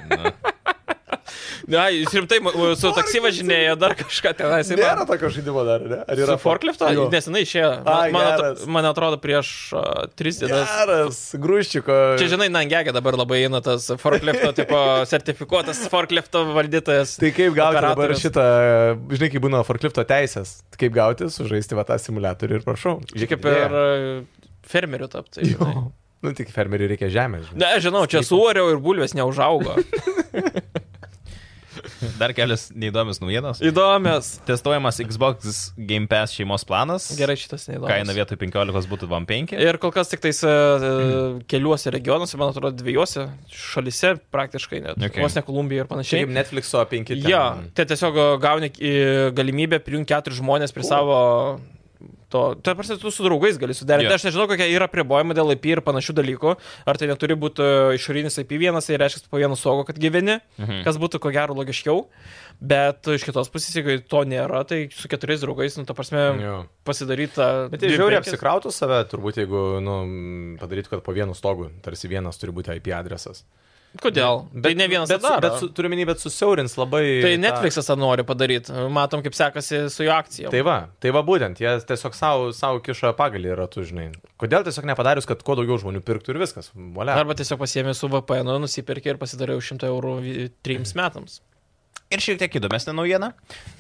B: Na, jis rimtai ma- su taksi važinėjo dar kažką tenais.
C: Nėra tokio žaidimo dar, ne? Ar
B: Yra
C: yra
B: forklifto?
C: Jo.
B: Nesenai išėjo.
C: Ai,
B: Man, man,
C: geras.
B: atro, man atrodo, prieš uh, tris dienas.
C: Geras, grūščiuko.
B: Čia, žinai, Nangegė dabar labai eina tas forklifto tipo sertifikuotas forklifto valdytojas.
C: Tai kaip gauti dabar
B: operatorius.
C: šitą, žinai, kaip būna forklifto teisės, kaip gauti, sužaisti va tą simulatorių ir prašau.
B: Čia kaip ir uh, fermeriu tapti. žinai.
C: Jo. Nu, tik fermeriui reikia žemės. žinai.
B: Ne, žinau, čia suoriau ir bulvės neužaugo.
A: Dar kelias neįdomios naujienos.
B: Įdomios.
A: Testuojamas Xbox Game Pass šeimos planas.
B: Gerai, šitas neįdomus.
A: Kaina vietoj 15 būtų 25.
B: Ir kol kas tik tais uh, keliuose regionuose, man atrodo, dviejose šalise praktiškai net.
A: Okay.
B: Okay. Vos ne Kolumbija ir
C: Čia
B: panašiai.
C: kaip Netflixo 5.
B: Ja, tai tiesiog gauni e, galimybę prijungti keturis žmonės prie savo... To, tai prasme, tu su draugais gali suderinti.
A: Jo.
B: Yeah. Aš nežinau, kokie yra pribojimai dėl IP ir panašių dalykų. Ar tai neturi būti e, išorinis IP vienas, tai reiškia, kad po vienu saugo, kad gyveni, mhm. kas būtų ko gero logiškiau. Bet e, iš kitos pusės, jeigu to nėra, tai su keturiais draugais, nu, ta prasme,
C: Jo.
B: pasidaryta...
C: Bet tai žiauriai apsikrautų save, turbūt, jeigu nu, padarytų, kad po vienu stogu, tarsi vienas turi būti IP adresas.
B: Kodėl? Bet tai ne vienas
C: bet, su-
B: atsidaro.
C: bet su, turiu minį, bet susiaurins labai.
B: Tai
C: tą-
B: Netflixas tą nori padaryti. Matom, kaip sekasi su jo akcija.
C: Tai va, tai va būtent, jie tiesiog savo, savo kiša pagalį yra, tu žinai. Kodėl tiesiog nepadarius, kad kuo daugiau žmonių pirktų ir viskas. Valia.
B: Arba tiesiog pasiemi su VPN, nusipirki nu, ir pasidariau 100 eurų vi- trims metams.
A: Ir šiek tiek įdomesnė naujiena.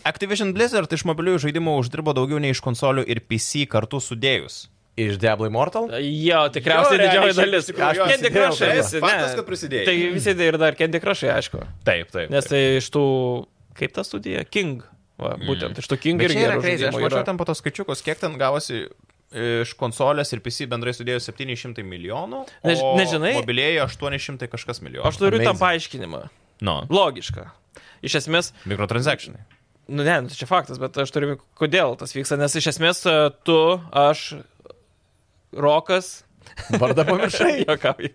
A: Activision Blizzard iš mobiliųjų žaidimų uždirbo daugiau nei iš konsolių ir PC kartu sudėjus.
C: Iš Diablo Immortal?
B: Jo, tikriausiai
A: Jo, realiai,
B: didžioji
A: šiaip
B: dalis.
A: iš tikrųjų,
C: jo,
B: Candy
C: prisidėjau
B: Crushai.
C: prie to.
B: visi,
A: Faktas,
B: ne.
A: kad prisidėjai.
B: Tai visi tai ir dar Candy Crushai, aišku.
A: Taip, taip.
B: Nes tai iš tų, kaip ta studija? King. Va, būtent iš tų King
A: Mm. Bet čia
B: irgi
A: yra
B: gerų
A: crazy, aš
B: žaidimų
A: mačiau
B: yra.
A: ten po tos skaičiukus, kiek ten gavosi iš konsolės ir PC bendrai sudėjo 700 milijonų.
B: Než-
A: o
B: nežinai?
A: Mobilieji 800 kažkas milijonų.
B: Aš turiu tam
C: Amazing.
B: paaiškinimą.
A: No.
B: Logiška. Iš esmės,
A: Mikrotransakcionai.
B: nu ne, nu, čia faktas, bet aš turiu, kodėl tas vyksta, nes iš esmės e, tu, aš, Rokas,
C: Vardą pamiršai.
B: Jokauju.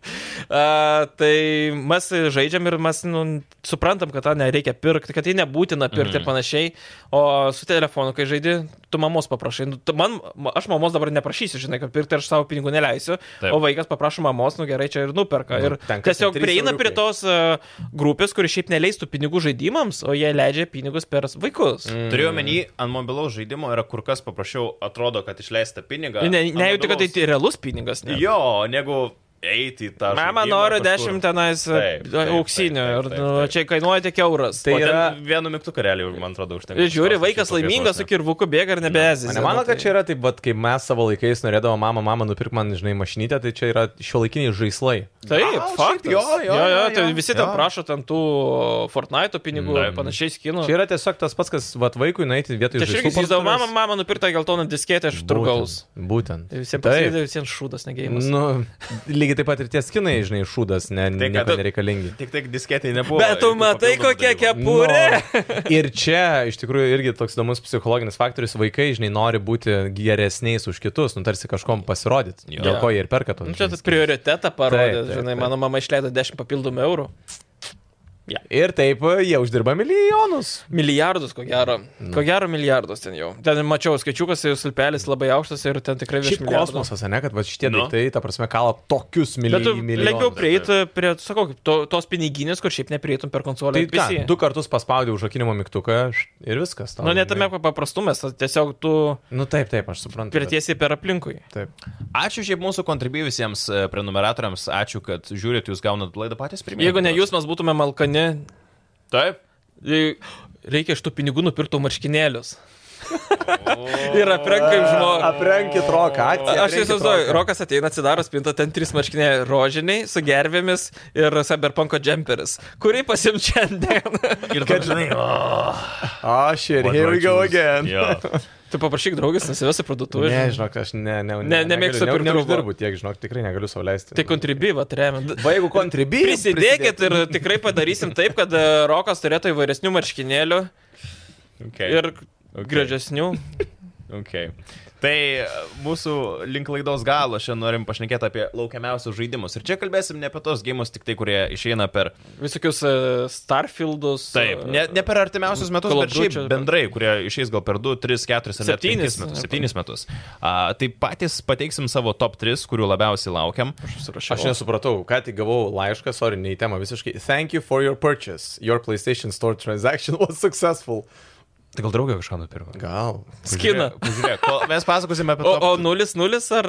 B: Uh, tai mes žaidžiam ir mes nu, suprantam, kad tą nereikia pirkti, kad tai nebūtina pirkti mm. ir
C: Mhm.
B: panašiai. O su telefonu, kai žaidži, tu mamos paprašai. Nu, tu man, ma- aš mamos dabar neprašysiu, žinai, kad pirkti aš savo pinigų neleisiu.
A: Taip.
B: Taip. O vaikas paprašo mamos, nu gerai, čia ir nuperka.
C: Nu,
B: Ir
C: ten kas ten
B: tiesiog
C: trys
B: prieina prie
C: euriukai.
B: tos uh, grupės, kuri šiaip neleistų pinigų žaidimams, o jie leidžia pinigus per vaikus. Mm.
A: Mm. Turiu omeny, ant mobilaus žaidimo yra kur kas paprasčiau, atrodo, kad išleista pinigą.
B: Ne,
A: ant
B: nejauti, kad
A: mobilaus-
B: tai realus pinigas. net.
A: Jo, negu eiti į tą.
B: Mama
A: žaidimą
B: noriu
A: kažkur.
B: 10 tenais
A: Taip, taip,
B: auksinių
A: taip,
B: ir
A: taip,
B: nu,
A: taip.
B: čia kainuoja tik euras.
C: Tai
A: O ten
C: yra-
A: Vienu mygtuku realiai, man atrodo, užtenka.
B: Ir žiūri,
A: Kažkokios
B: vaikas
A: tokios
B: laimingas su
A: vos tai- ne.
B: kirvuku bėga ir nebezis.
C: Mane mano, kad čia yra taip, vat, kaip mes savo laikais norėdavo, mama, mama, nupirk man, žinai, mašinytę, tai čia yra šiuolaikiniai žaislai.
A: Gal
B: Taip,
A: šiaip
B: faktas.
A: jo, jo,
B: jo, jo,
A: jo,
B: tai
A: jo.
B: visi ten
A: Jo. Mm.
B: prašo ten tų Fortnite pinigų
A: Na,
B: ir panašiai skinų.
C: Čia yra tiesiog tas pats, kas vat, vaikui nueiti vietoj
B: Čia aš irgi
C: žaislų
B: įsivaizduoju,
C: parduotuvės.
B: mama, mama nupirta geltoną disketę iš
C: Būtent,
B: turgaus.
C: Būtent.
B: Tai Visiems
C: Taip.
B: pasidavė, visiems šūdas negėjimas.
C: Nu, lygiai taip pat ir tie skinai, žinai, šūdas, ne,
A: Tai,
C: nieko
A: kad-
C: nereikalingi.
A: Tik tiek disketai nebuvo.
B: Bet tu
A: jokių
B: matai,
A: papildomų
B: kokia
A: dalykų.
B: kepurė.
C: Nu, ir čia iš tikrųjų irgi toks įdomus psichologinis faktorius, vaikai, žinai, nori būti geresniais už kitus, nu tarsi kažkom pasirodyti,
A: Jo.
C: dėl ko jie ir perka to.
B: Nu, čia tas prioritetą parodė,
C: Taip, taip,
B: žinai,
C: taip.
B: mano mama išleido 10 papildomų eurų.
C: Ir taip jie uždirba milijonus.
B: Milijardus, ko gero. Ko gero, milijardus ten jau. Ten mačiau skaičiukas, jų silpelis labai aukštas ir ten tikrai virš
C: Šiaip
B: milijardo.
C: kosmosas, ne, kad va šitie
A: Nu.
C: daiktai, ta prasme, kala tokius mili-
B: Bet tu
C: milijonus.
B: lengviau prieiti prie, sakau, kaip to, tos piniginės, kur šiaip neprieitum per konsolę.
C: Tai
B: ir
C: ką,
B: PC.
C: du kartus paspaudė užrakinimo mygtuką št, ir viskas. tau,
B: Nu, net
C: žinai.
B: tame paprastumas, tas tiesiog tu
C: Nu taip, taip, aš suprantu. bet-
B: pirtiesi per aplinkui.
C: Taip.
A: Ačiū šiaip mūsų kontribyvisiems prenumeratoriams, ačiū, kad žiūrit, jūs gaunat laidą patys pirmieji.
B: Jeigu ne jūs, mes būtume malkani.
A: Taip.
B: Jei- Reikia iš tų pinigų nupirktų marškinėlius. Ir aprenkaim žmogų.
C: Aprenkit roką, atsiprašau.
B: Aš įsivaizduoju, Rokas ateina, atsidaro spintą, ten trys marškiniai rožiniai su gervėmis ir cyberpunko džemperis, kurį pasim šiandien.
A: Ir kad žinai.
C: Aš ir here we go again.
B: tu paprašyk draugės, nusivesi parduotuvę.
C: Ne, žinok, aš ne, ne,
B: Ne- nemėgstu pirkt rūbų.
C: Neuždirbu tiek, žinok, tikrai negaliu sauliaisti.
B: Tai kontribyva, remiant.
C: Va, jeigu kontribijai.
B: Prisidėkit ir tikrai padarysim taip, kad e, Rokas turėtų įvairesnių marškinėlių
A: Okay.
B: ir gražesnių.
A: Okay. Tai mūsų link laidos galo šiandien norim pašnekėti apie laukiamiausius žaidimus. Ir čia kalbėsim ne apie tos gėjimus, tik tai, kurie išeina per...
B: Visokius e, Starfieldus. e,
A: Taip, ne, ne per artimiausius metus,
B: Call of
A: bet šiaip
B: Duty.
A: bendrai, kurie išeis gal per 2, 3, 4 ar net 5
B: Septynis.
A: metus. 7 metus. A, tai patys pateiksim savo top 3, kurių labiausiai laukiam.
B: Aš
C: Aš
B: nesu.
C: nesupratau, ką tik gavau laišką, sorry, ne į temą visiškai. Thank you for your purchase. Your PlayStation Store transaction was successful.
A: Tai gal draugė kažką nupirko?
C: Gal.
B: Skina.
A: Žiūrėk, kol- mes pasakosim apie...
B: O,
A: top
B: o nu- 0-0 ar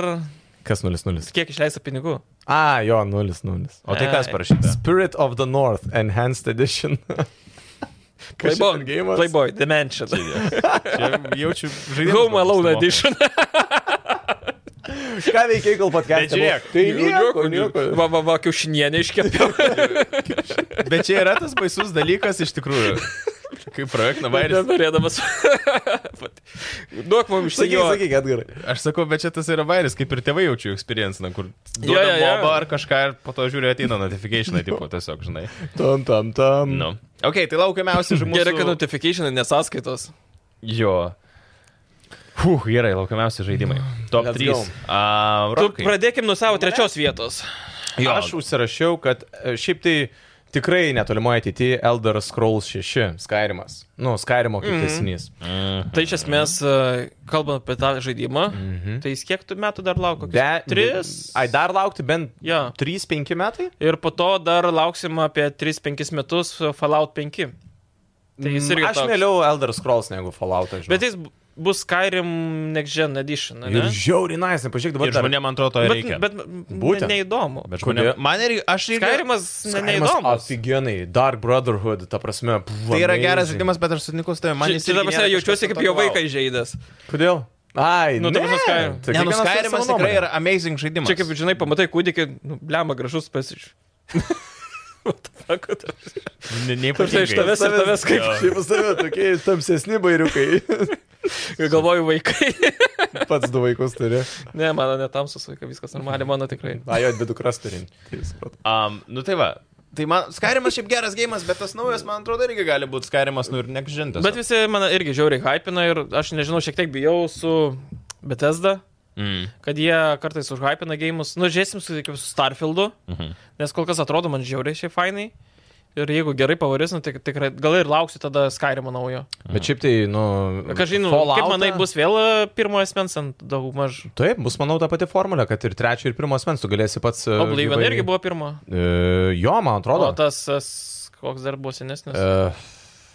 C: Kas 00?
B: kiek išleista pinigų?
C: A, jo, 00.
A: O tai kas parašyta?
C: Spirit of the North Enhanced Edition. Kas čia per
B: Playboy.
C: geimas?
B: Playboy, Dimension.
A: Čia jaučiu žaidimą.
B: Home Alone Edition.
C: Ką veikiai, kol
A: Bet
C: podcast'e?
A: žiūrėk,
C: buvo? Tai nieko, nieko.
B: Va, va, va, kiaušinienė iškepiau.
A: Bet čia yra tas baisus dalykas iš tikrųjų. Kaip projekto vairis.
B: Nenorėdamas. Pat- Duok mums
C: Sakyk,
B: išsijuokti.
C: sakyk, Edgarai.
A: Aš sakau, bet čia tas yra vairis, kaip ir tėvai jaučiu experience, na, kur duoda
B: jo, jo.
A: mobą ar kažką ir po to žiūri ateina notification, tipo, tiesiog, žinai.
C: Tam, tam, tam.
A: Nu. Ok, tai laukiamiausi žaidimas.
B: Gerai, kad notification nesaskaitos.
A: Jo. Huh, gerai, laukiamiausi žaidimai. Top
C: Let's
A: 3.
C: go.
A: Uh,
B: Tu pradėkim nuo savo trečios vietos.
A: Jo.
C: Aš užsirašiau, kad e, šiaip tai tikrai netolimoje ateityje Elder Scrolls 6 Skyrimas. Nu, Skyrimo kaip
A: Mhm.
C: tiesinys.
B: Tai iš esmės,
C: Mhm.
B: e, kalbant apie tą žaidimą, tai jis kiek tų metų dar laukia?
C: Be-
B: Tris.
C: Ai, dar laukti bent
B: Jo.
C: 3-5 metai?
B: Ir po to dar lauksim apie 3-5 metus e, Fallout 5. Tai jis irgi.
C: Mm, Aš
B: toks.
C: mieliau Elder Scrolls negu Falloutą, žinau.
B: Bet jis bu- bus Skyrim Next Gen Edition. Ne?
C: Ir žiauriai nice, pažiūrėk dabar.
A: Ir
C: dar-
A: žmonėm, man atrodo, to ir
B: bet,
A: reikia.
B: bet ne,
C: Būtent.
B: neįdomu.
A: Bet žmonėm,
C: Kodėl?
A: man ir aš irgi.
B: Skyrimas ne,
C: Skyrimas
B: neįdomus.
C: Aфиgenai, Dark Brotherhood, ta prasme. pff,
A: Tai yra
C: amazing.
A: geras žaidimas, bet aš sutinku su tavimi. Man
B: Čia,
A: jis
B: čia
A: irgi
B: dabar
A: nėra
B: jaučiuosi
A: kažkas
B: kaip jo
A: tokio,
B: vaiką įžeidęs.
C: Kodėl? Ai,
B: Nu, ta prasme, Skyrim.
C: Tai
A: Ne,
C: kiekvienas turi
A: nuskairimas
C: savo
A: tikrai
C: nuomonę.
A: yra amazing žaidimas.
B: Čia kaip, žinai, pamatai kūdikį, nu, blema, gražus pasižiūrėjau.
A: Nei
B: prasme, iš tavęs- ir tavęs kaip-
A: Jo.
C: Taip, pas tave tokie tamsesni bairiukai.
B: Galvoju, vaikai.
C: Pats du vaikus turi.
B: Ne, mano netamsus vaikas, viskas normaliai, mano tikrai.
C: A, jo, dvi dukras turi. Tai supratau.
A: Um, nu tai va. Tai man Skyrimas šiaip geras gėjimas, bet tas naujas, man atrodo, irgi gali būti Skyrimas, nu ir nekžintas.
B: Bet visi mane irgi žiauriai hypina ir aš nežinau, šiek tiek bijau su Bethesda,
A: Mm.
B: kad jie kartais užhypina gėjimus. Nu, žiūrėsim su, kaip su Starfieldu,
A: Mhm.
B: nes kol kas atrodo man žiauriai šiai fainai. Ir jeigu gerai pavarys, nu, tai tikrai gal ir lauksiu tada Skyrimo naujo.
C: Bet šiaip tai, nu.
B: Kažin, kaip
C: Falloutą- E,
B: manai, bus vėl e, pirmojo asmens ant daug maž.
C: Taip, bus, manau, ta pati formulė, kad ir trečio, ir pirmo asmens tu galėsi pats. e,
B: Oblivion
C: įvairiai-
B: irgi buvo pirmo.
C: E, jo,
B: O
C: man atrodo.
B: tas, tas koks dar buvo senesnis.
C: E,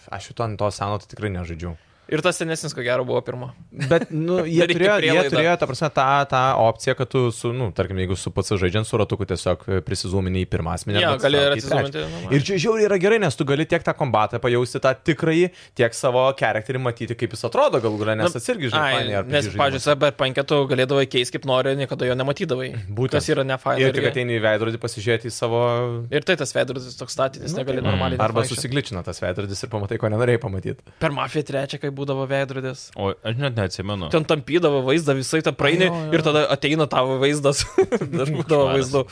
C: aš šito ant to seno tai tikrai nežaidžiu.
B: Ir tas senesnis, ko gero, buvo pirmo.
C: Bet, nu, jie
B: Reikia
C: turėjo, jie
B: prielaidą.
C: turėjo, ta prasme, tą, tą opciją, kad tu, su, nu, tarkim, jeigu su pats žaidžiant su ratuku tiesiog e, prisizumini į pirmą asmenį.
B: Ne,
C: arba
B: gali ir
C: tiesiog į trečią.
B: atsizuminti. nu, va.
C: Ir čia žiauriai yra gerai, nes tu gali tiek tą kombatą pajausti, tą tikrąjį, tiek savo charakterį matyti, kaip jis atrodo galų galę, Nu, nes
B: Na,
C: atsirgi
B: ai,
C: žinai, ar
B: Nes, pavyzdžiui, CB5 tu galėdavai keisti kaip nori, niekada jo nematydavai.
C: Būtent.
B: Tas yra ne failai.
C: Ir tik ateini į veidrodį pasižiūrėti į savo...
B: ir tai tas veidrodis toks statytis, negali normaliai. net
C: Nu, tai- Mm. Arba
B: vaikščiot.
C: susigličina tas veidrodis ir pamatai, ko nenorėjai pamatyti.
B: Per mafiją trečią, kai būdavo veidrodis.
A: O aš net neatsimenu.
B: Ten tampydavo vaizdą, visai tą praeini
C: Jo, jo.
B: ir tada ateina tavo vaizdas. Aš būdavo
A: Švaras.
B: vaizdu.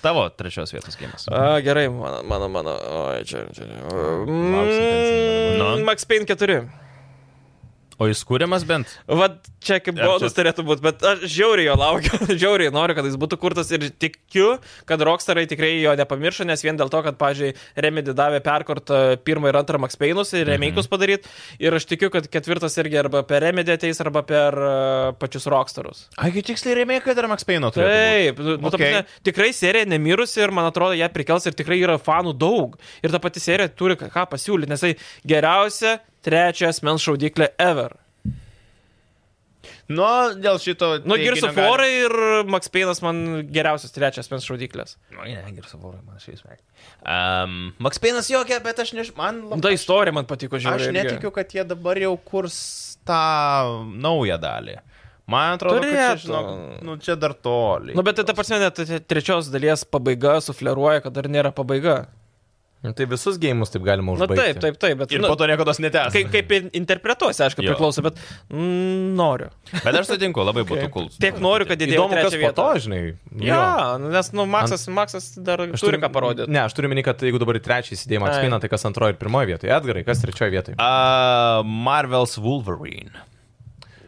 A: Tavo trečios vietos gėjimas.
B: A, gerai, mano, mano, mano. O, čia, čia.
C: Lauksim pensijų
A: darbo.
B: Mm,
A: Nu.
B: Max Payne 4.
A: O jis kūriamas bent?
B: Vat čia kaip
A: Ar
B: bonus
A: čia-
B: turėtų būti, bet aš žiauriai jo laukiu, žiauriai noriu, kad jis būtų kurtas ir tikiu, kad Rockstarai tikrai jo nepamiršo, nes vien dėl to, kad, pažiūrėjau, Remedy davė perkortą pirmą ir antrą Max Payne'us ir remake'us padaryt ir aš tikiu, kad ketvirtas irgi arba per Remedy ateis, arba per uh, pačius Rockstarus.
A: Agi tiksliai remė, kad dar Max Payne turėjo.
B: Taip, nu, nu, ta
A: Okei.
B: prasme, tikrai serija nemirusi ir man atrodo, ją prikels ir tikrai yra fanų daug. Ir ta pati serija turi ką- ką pasiūlyti, nes tai geriausia trečia asmens šaudyklė ever.
A: Nu, dėl šito.
B: Nu, Girso Forai ir Max Payne'as man geriausias trečias mens šaudyklės.
A: Nu, ne, Girso Forai, man šiais metais. Um, Max Payne'as jokia, bet aš nežinau, man
B: Nu,
A: labai.
B: Ta istorija man patiko
A: Aš
B: žiauriai. irgi.
A: netikiu, kad jie dabar jau kurs tą naują dalį. Man atrodo, kad čia,
B: Turėtų.
A: žinok, nu, čia dar toli.
B: Nu, bet tai ta prasme, net t- trečios dalies pabaiga sufleruoja, kad dar nėra pabaiga.
C: Tai visus gėjimus taip galima
B: Na
C: užbaigti.
B: taip, taip, taip, bet...
A: Ir
B: Nu,
A: po to niekada netęs.
B: kaip, kaip in- interpretuosi, aišku,
A: Jo.
B: priklauso, bet mm, noriu.
A: Bet aš sutinku, labai būtų cool.
B: Tiek nu- noriu, kad didėtų.
C: Įdomu, kas po to, žinai. jo.
B: Ja, nu, nes, nu, Maksas, Maksas dar
C: Aš
B: turi
C: turiu-
B: ką parodyti.
C: Ne, aš turiu minį, kad jeigu dabar į trečią įsidėjimą
B: Ai.
C: atspina, tai kas antroje ir pirmoje vietoje. Edgarai, kas trečioje vietoje?
A: Uh, Marvel's Wolverine.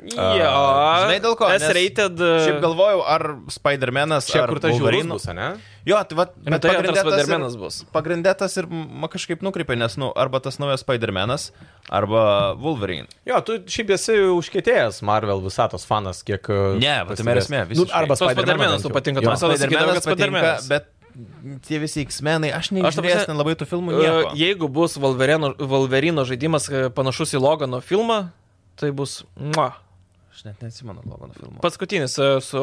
B: Jo, e,
A: žinai dėl ko? Nes
B: S-rated.
A: Šiaip galvojau, ar Spider-Man'as.
C: Čia
A: ar
C: kur tas žiaurus
A: Wolverine-
C: bus, ne?
A: Jo, tai va, bet
B: Tai antras
A: pagrinde tas ir-
B: Spider-Man'as bus.
A: Pagrinde tas ir ma kažkaip nukreipia, nes, nu, arba tas naujas Spider-Man'as, arba Wolverine.
C: Jo, tu šiaip esi užkėtėjęs Marvel visatos fanas, kiek... uh,
A: Ne, va tame ir esmė,
C: nu,
A: visiškai.
C: arba
B: Tos Spider-Man'as
C: Spider-Man'as.
B: tu
C: bent jau.
B: patinka,
C: Jo.
B: tu visada sakydavau, kad
A: Spider-Man'as patinka,
B: Spider-Man'as.
A: bet tie visi X-menai, aš
B: Aš ta
A: nežinau,
B: prasme-
A: ten labai tų filmų
B: E,
A: nieko.
B: Jeigu bus Wolverino, Wolverino žaidimas e, panašus į Logano filmą, tai bus mua,
A: Aš net neatsimenu Logano filmo.
B: paskutinis e, su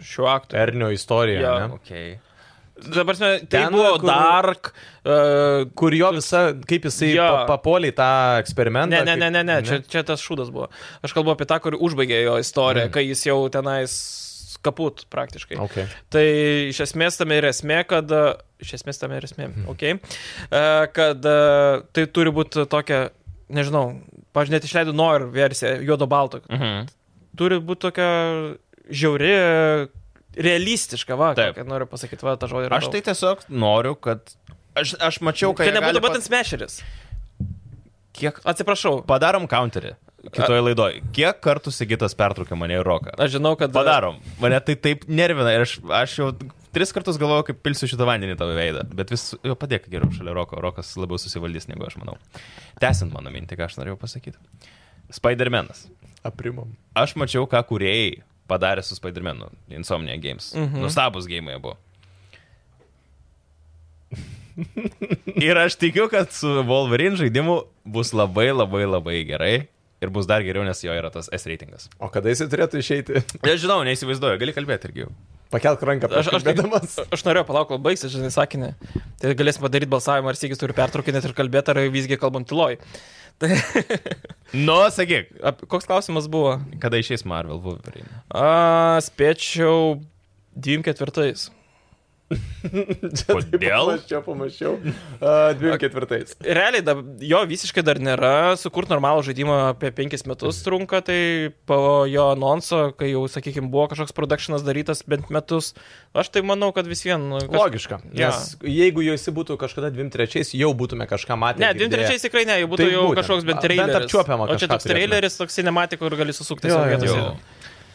B: šiuo aktoriumi.
C: Ernio istorija,
B: Jo.
C: ne?
A: Okay.
B: Dabar, tai
C: Ten,
B: buvo
C: kur-
B: Dark. Uh,
C: Kur jo visa, kaip jisai
B: Jo.
C: pa- papuolė į tą eksperimentą.
B: ne, ne,
C: kaip-
B: ne, ne, ne, čia, čia tas šūdas buvo. Aš kalbu apie tą, kur užbaigė jo istoriją, mm. kai jis jau tenais kaput praktiškai.
C: Okay.
B: Tai iš esmės tam ir esmė, kad... Iš esmės tam ir esmė,
A: Mhm.
B: ok. E, Kad e, tai turi būti tokia, nežinau, pažiūrėt išleidų Noir versiją, juodo balto.
A: Mhm.
B: Turi būti tokia žiauri, e, realistiška, va,
A: Taip.
B: kaip noriu pasakyti, va, tą žodį.
A: Aš tai tiesiog noriu, kad... Aš, aš mačiau, kad...
B: Kad
A: jie
B: nebūtų
A: gali
B: patins mešeris.
A: Kiek...
B: Atsiprašau.
A: Padarom counterį kitoje laidoje. Kiek kartų Sigitas pertraukė mane į roką?
B: Aš žinau, kad... e,
A: Padarom. Mane tai taip nervina ir aš, aš jau tris kartus galvojau, kaip pilsiu šitą vandenį tavo veidą, bet vis jo, padėk geriau šalia Roko, Rokas labiau susivaldys negu aš manau. Tęsint mano mintį, ką aš norėjau pasakyti. Spider-Man'as.
C: Aprimom.
A: Aš mačiau, ką kuriejai padarė su Spider-Man'u Insomnia Games. Mhm. Nustabus gėjimai buvo. ir aš tikiu, kad su Wolverine žaidimu bus labai labai labai gerai. Ir bus dar geriau, nes jo yra tas S reitingas.
C: O kada jis turėtų išeiti?
A: Aš žinau, neįsivaizduoju, gali kalbėti irgi jau.
C: Pakelk ranką,
B: Aš,
C: aš
B: aš,
C: kalbėdamas.
B: aš, aš norėjau palaukti, kol baigsis, žinai, sakinį. Tai galėsim padaryti balsavimą, ar sėkis turi pertraukinėti ir kalbėti, ar visgi kalbam tyloj. Tai,
A: Nu, sakyk,
B: ap, koks klausimas buvo?
A: kada išeis Marvel Wolverine?
B: A, spėčiau 24.
A: Kodėl?
C: Aš čia pamačiau. Uh, dviem ketvirtais.
B: Realiai dab, jo visiškai dar nėra, sukurti normalų žaidimą apie 5 metus trunka, tai po jo anonso, kai jau, sakykime, buvo kažkoks produkšnas darytas bent metus, aš tai manau, kad vis vien... nu, Kaž...
C: Logiška.
B: Jo.
C: Nes jeigu jau jis būtų kažkada dviem trečiais, jau būtume kažką matę.
B: Ne,
C: girdėję.
B: 23 tikrai ne, jau būtų
C: Tai
B: jau
C: būtent.
B: kažkoks bent
C: Bent
B: traileris.
C: apčiuopiama
B: O čia
C: kažką
B: toks
C: turėtume.
B: traileris, toks cinematiko ir gali susukti
C: Jo,
B: savo
C: jo,
B: vietose.
A: Jau.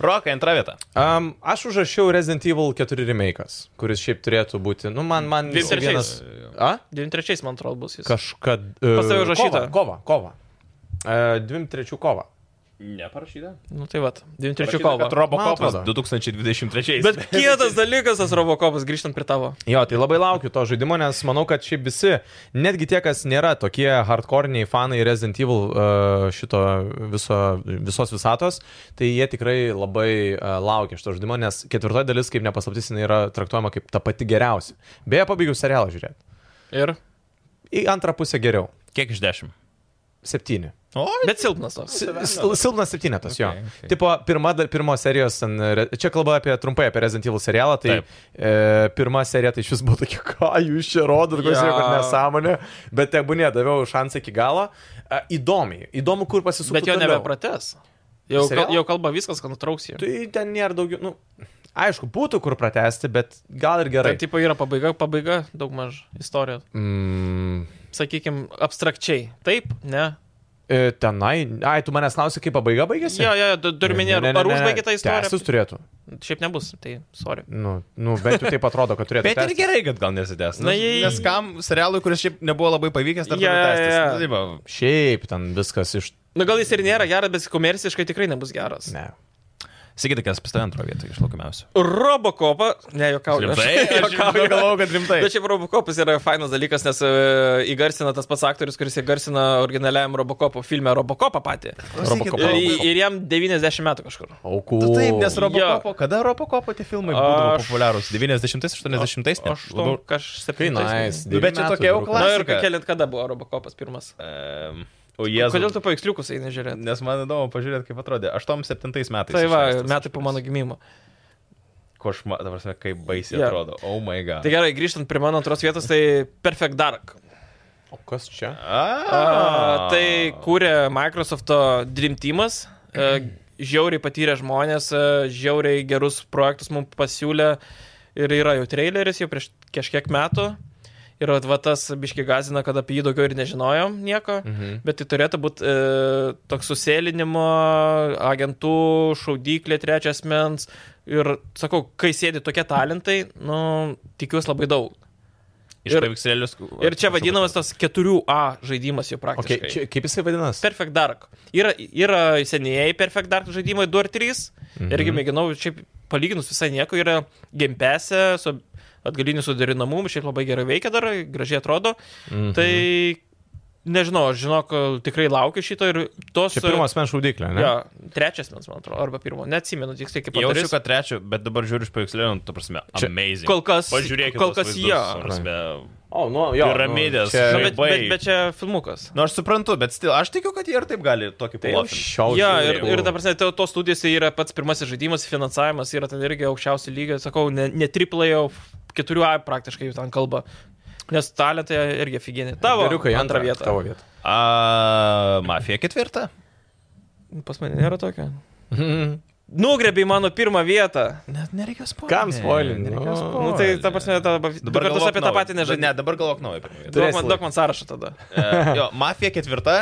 A: Rokai, antra vieta.
C: Um, aš užrašiau Resident Evil 4 remake'as, kuris šiaip turėtų būti, nu, man, man
B: Dviem
C: jisai
B: trečiais.
C: A?
B: 93 man atrodo bus jis.
C: Kažkad. e,
B: Pas tave užrašyta.
C: Kova, kova. Uh, dviem trečių kova.
A: Neparašyta.
B: Nu tai vad, 93
A: Parašyta, kad
B: kovo.
A: Robocopas
C: Man atrodo.
A: 2023.
B: Bet kietas dalykas tas Robocopas, grįžtant prie tavo.
C: Jo, tai labai laukiu to žaidimo, nes manau, kad šiaip visi, netgi tie, kas nėra tokie hardkoriniai fanai Resident Evil e, šito viso, visos visatos, tai jie tikrai labai e, laukia šito žaidimo, nes ketvirtoji dalis, kaip nepaslaptis, jinai yra traktuojama kaip ta pati geriausia. Beje, pabaigiau serialą žiūrėti.
B: Ir.
C: Į antrą pusę geriau.
A: Kiek iš dešimt?
C: Septyni.
A: O,
B: Bet silpnas toks.
C: Sil- Silpnas septynetas, jo.
A: Okay, okay.
C: Tipo, pirma, da- pirmos serijos, ten, re- čia kalba apie trumpai apie Resident Evil serialą, tai
A: Taip.
C: e, pirma serija tai iš vis buvo tokia, ką jūs čia rodot, kokia
B: Jo.
C: ja. nesąmonė, bet tebu ne, daviau šansą iki galo. E, įdomiai, įdomu, kur pasisukti.
B: Bet jo nebeprates. Jau,
C: Serialą?
B: kal- jau kalba viskas, kad nutrauks jį.
C: Tai ten nėra daugiau, nu, aišku, būtų kur pratesti, bet gal ir
B: Tai
C: gerai.
B: tipo yra pabaiga, pabaiga daugmaž istorija.
C: Mm,
B: Sakykime, abstrakčiai. Taip, ne.
C: e, tenai, ai, tu manęs klausi, kaip pabaiga baigėsi?
B: Jo, jo, durminė,
C: Ne, ne, ne,
B: ar
C: ne, ne.
B: užbaigė tą istoriją?
C: Tęstis turėtų.
B: Šiaip nebus, tai sorry.
C: Nu, nu, bent jau taip atrodo, kad turėtų.
A: Bet ir
C: tęstis.
A: gerai, kad gal nesitęs.
B: Na,
A: Na,
B: jei-
A: Nes kam serialui, kuris šiaip nebuvo labai pavykęs, dar
B: Jo,
A: yeah, tęstis. Nu, tai
B: jo, jo.
A: Yeah, yeah.
C: Šiaip ten viskas iš...
B: Na Nu, gal jis ir nėra geras, bet komerciškai tikrai nebus geras.
C: Ne.
A: Sakykite, kas pastoja antroje vietoje iš laukiamiausių.
B: Robocopą, ne, jokauju. aš-
A: Rimtai, aš
B: juokauju,
A: galvoju, kad rimtai.
B: Bet šiaip Robocopas yra fainas dalykas, nes e, įgarsina tas pats aktorius, kuris įgarsina originaliam Robocopo filme Robocopą patį.
A: Klausykit,
C: Robocop.
B: Ir, ir jam 90 metų kažkur.
C: Aukų.
A: Tu taip, nes
B: Rob-
A: Robocopo, kada Robocopo tie filmai būdavo
B: Aš-
A: populiarūs? 90-ais, 80-ais? net
B: Aš
A: labiau-
C: Kai
B: kažkaip.
C: nais.
A: Nu, bet čia tokia jau
B: Na ir
A: klasika.
B: keliant kada buvo Robocopas pirmas?
A: Ehm, O jėzus.
B: Kodėl tu paveiksliukus eini žiūrėti?
A: Nes man įdomu pažiūrėti, kaip atrodė. 87 metais.
B: Tai va,
A: išleistas
B: metai po
A: kažkuris.
B: mano gimimo.
A: Košma, dabar sakau, kaip baisiai
B: Jo.
A: yeah. atrodo. Oh my god.
B: Tai gerai, grįžtant prie mano antros vietos, tai Perfect Dark.
C: O kas čia?
A: A, Ah!
B: A, tai kūrė Microsoft'o Dream Team'as. e, Žiauriai patyrę žmonės, e, žiauriai gerus projektus mums pasiūlė. Ir yra jau traileris jau prieš kažkiek metų. Ir vat- va tas biški gazina, kad apie jį daugiau ir nežinojom nieko.
C: Mhm.
B: Bet tai turėtų būti e, toks susėlinimo, agentų, šaudyklė trečias mens. Ir sakau, kai sėdi tokie talentai, nu, tikiuosi labai daug.
A: Iš
B: ir-
A: paveikslėlius.
B: Ir čia vadinamas tas 4A žaidimas jau praktiškai.
C: Okay, čia, kaip jisai vadinasi?
B: Perfect Dark. Yra, yra senieji Perfect Dark žaidimai 2 ir 3. Mhm. Irgi mėginau, šiaip palyginus visai nieko, yra gempesė su atgaliniu suderinamumu, šiaip labai gerai veikia dar, gražiai atrodo. Mhm. Tai nežinau, aš žinok, tikrai laukiu šito ir tos...
C: Čia pirmas men šaudyklė, ne?
B: Jo, trečias mens, man atrodo, arba pirmo, neatsimenu tiksliai kaip
A: Jaučiu,
B: pavadinti.
A: kad trečio, bet dabar žiūriu iš paveikslėlių, tu prasme,
C: Čia-
A: amazing.
B: Kol kas,
A: Pažiūrėkit,
B: kol
A: tuos
B: kas
A: vaizdus,
B: jo.
A: ta prasme.
C: O, nu, jo.
A: Piramidės.
B: Na,
C: Nu,
B: bet,
A: Labai.
B: bet, bet čia filmukas.
A: Na, Nu, aš suprantu, bet still, aš tikiu, kad jie ir taip gali tokį
B: Tai
C: čia...
A: palaukti.
C: Šio.
B: Jo, ir, ir dabar, tai tos studijos yra pats pirmasis žaidimas, finansavimas yra ten irgi aukščiausio lygio, sakau, ne, ne triplai, o 4A praktiškai jau ten kalba. Nes talentai irgi figinė. Tavo
C: Vyriukai,
B: antrą vietą.
C: Tavo vietą.
A: A, mafija ketvirta.
B: Pas mane nėra tokio.
C: Mhm.
B: Nugrebiai mano pirmą vietą.
A: Net nereikia spoilinti.
C: Kam spoilint? Nu,
B: Na nu, tai, ta prasme, ta, dabar kartus apie tą patį nežaidžiu.
A: Ne, dabar galvok naujo.
B: Duok
C: turėsi
B: man, duok man sąrašą tada.
A: E, jo, mafija ketvirta.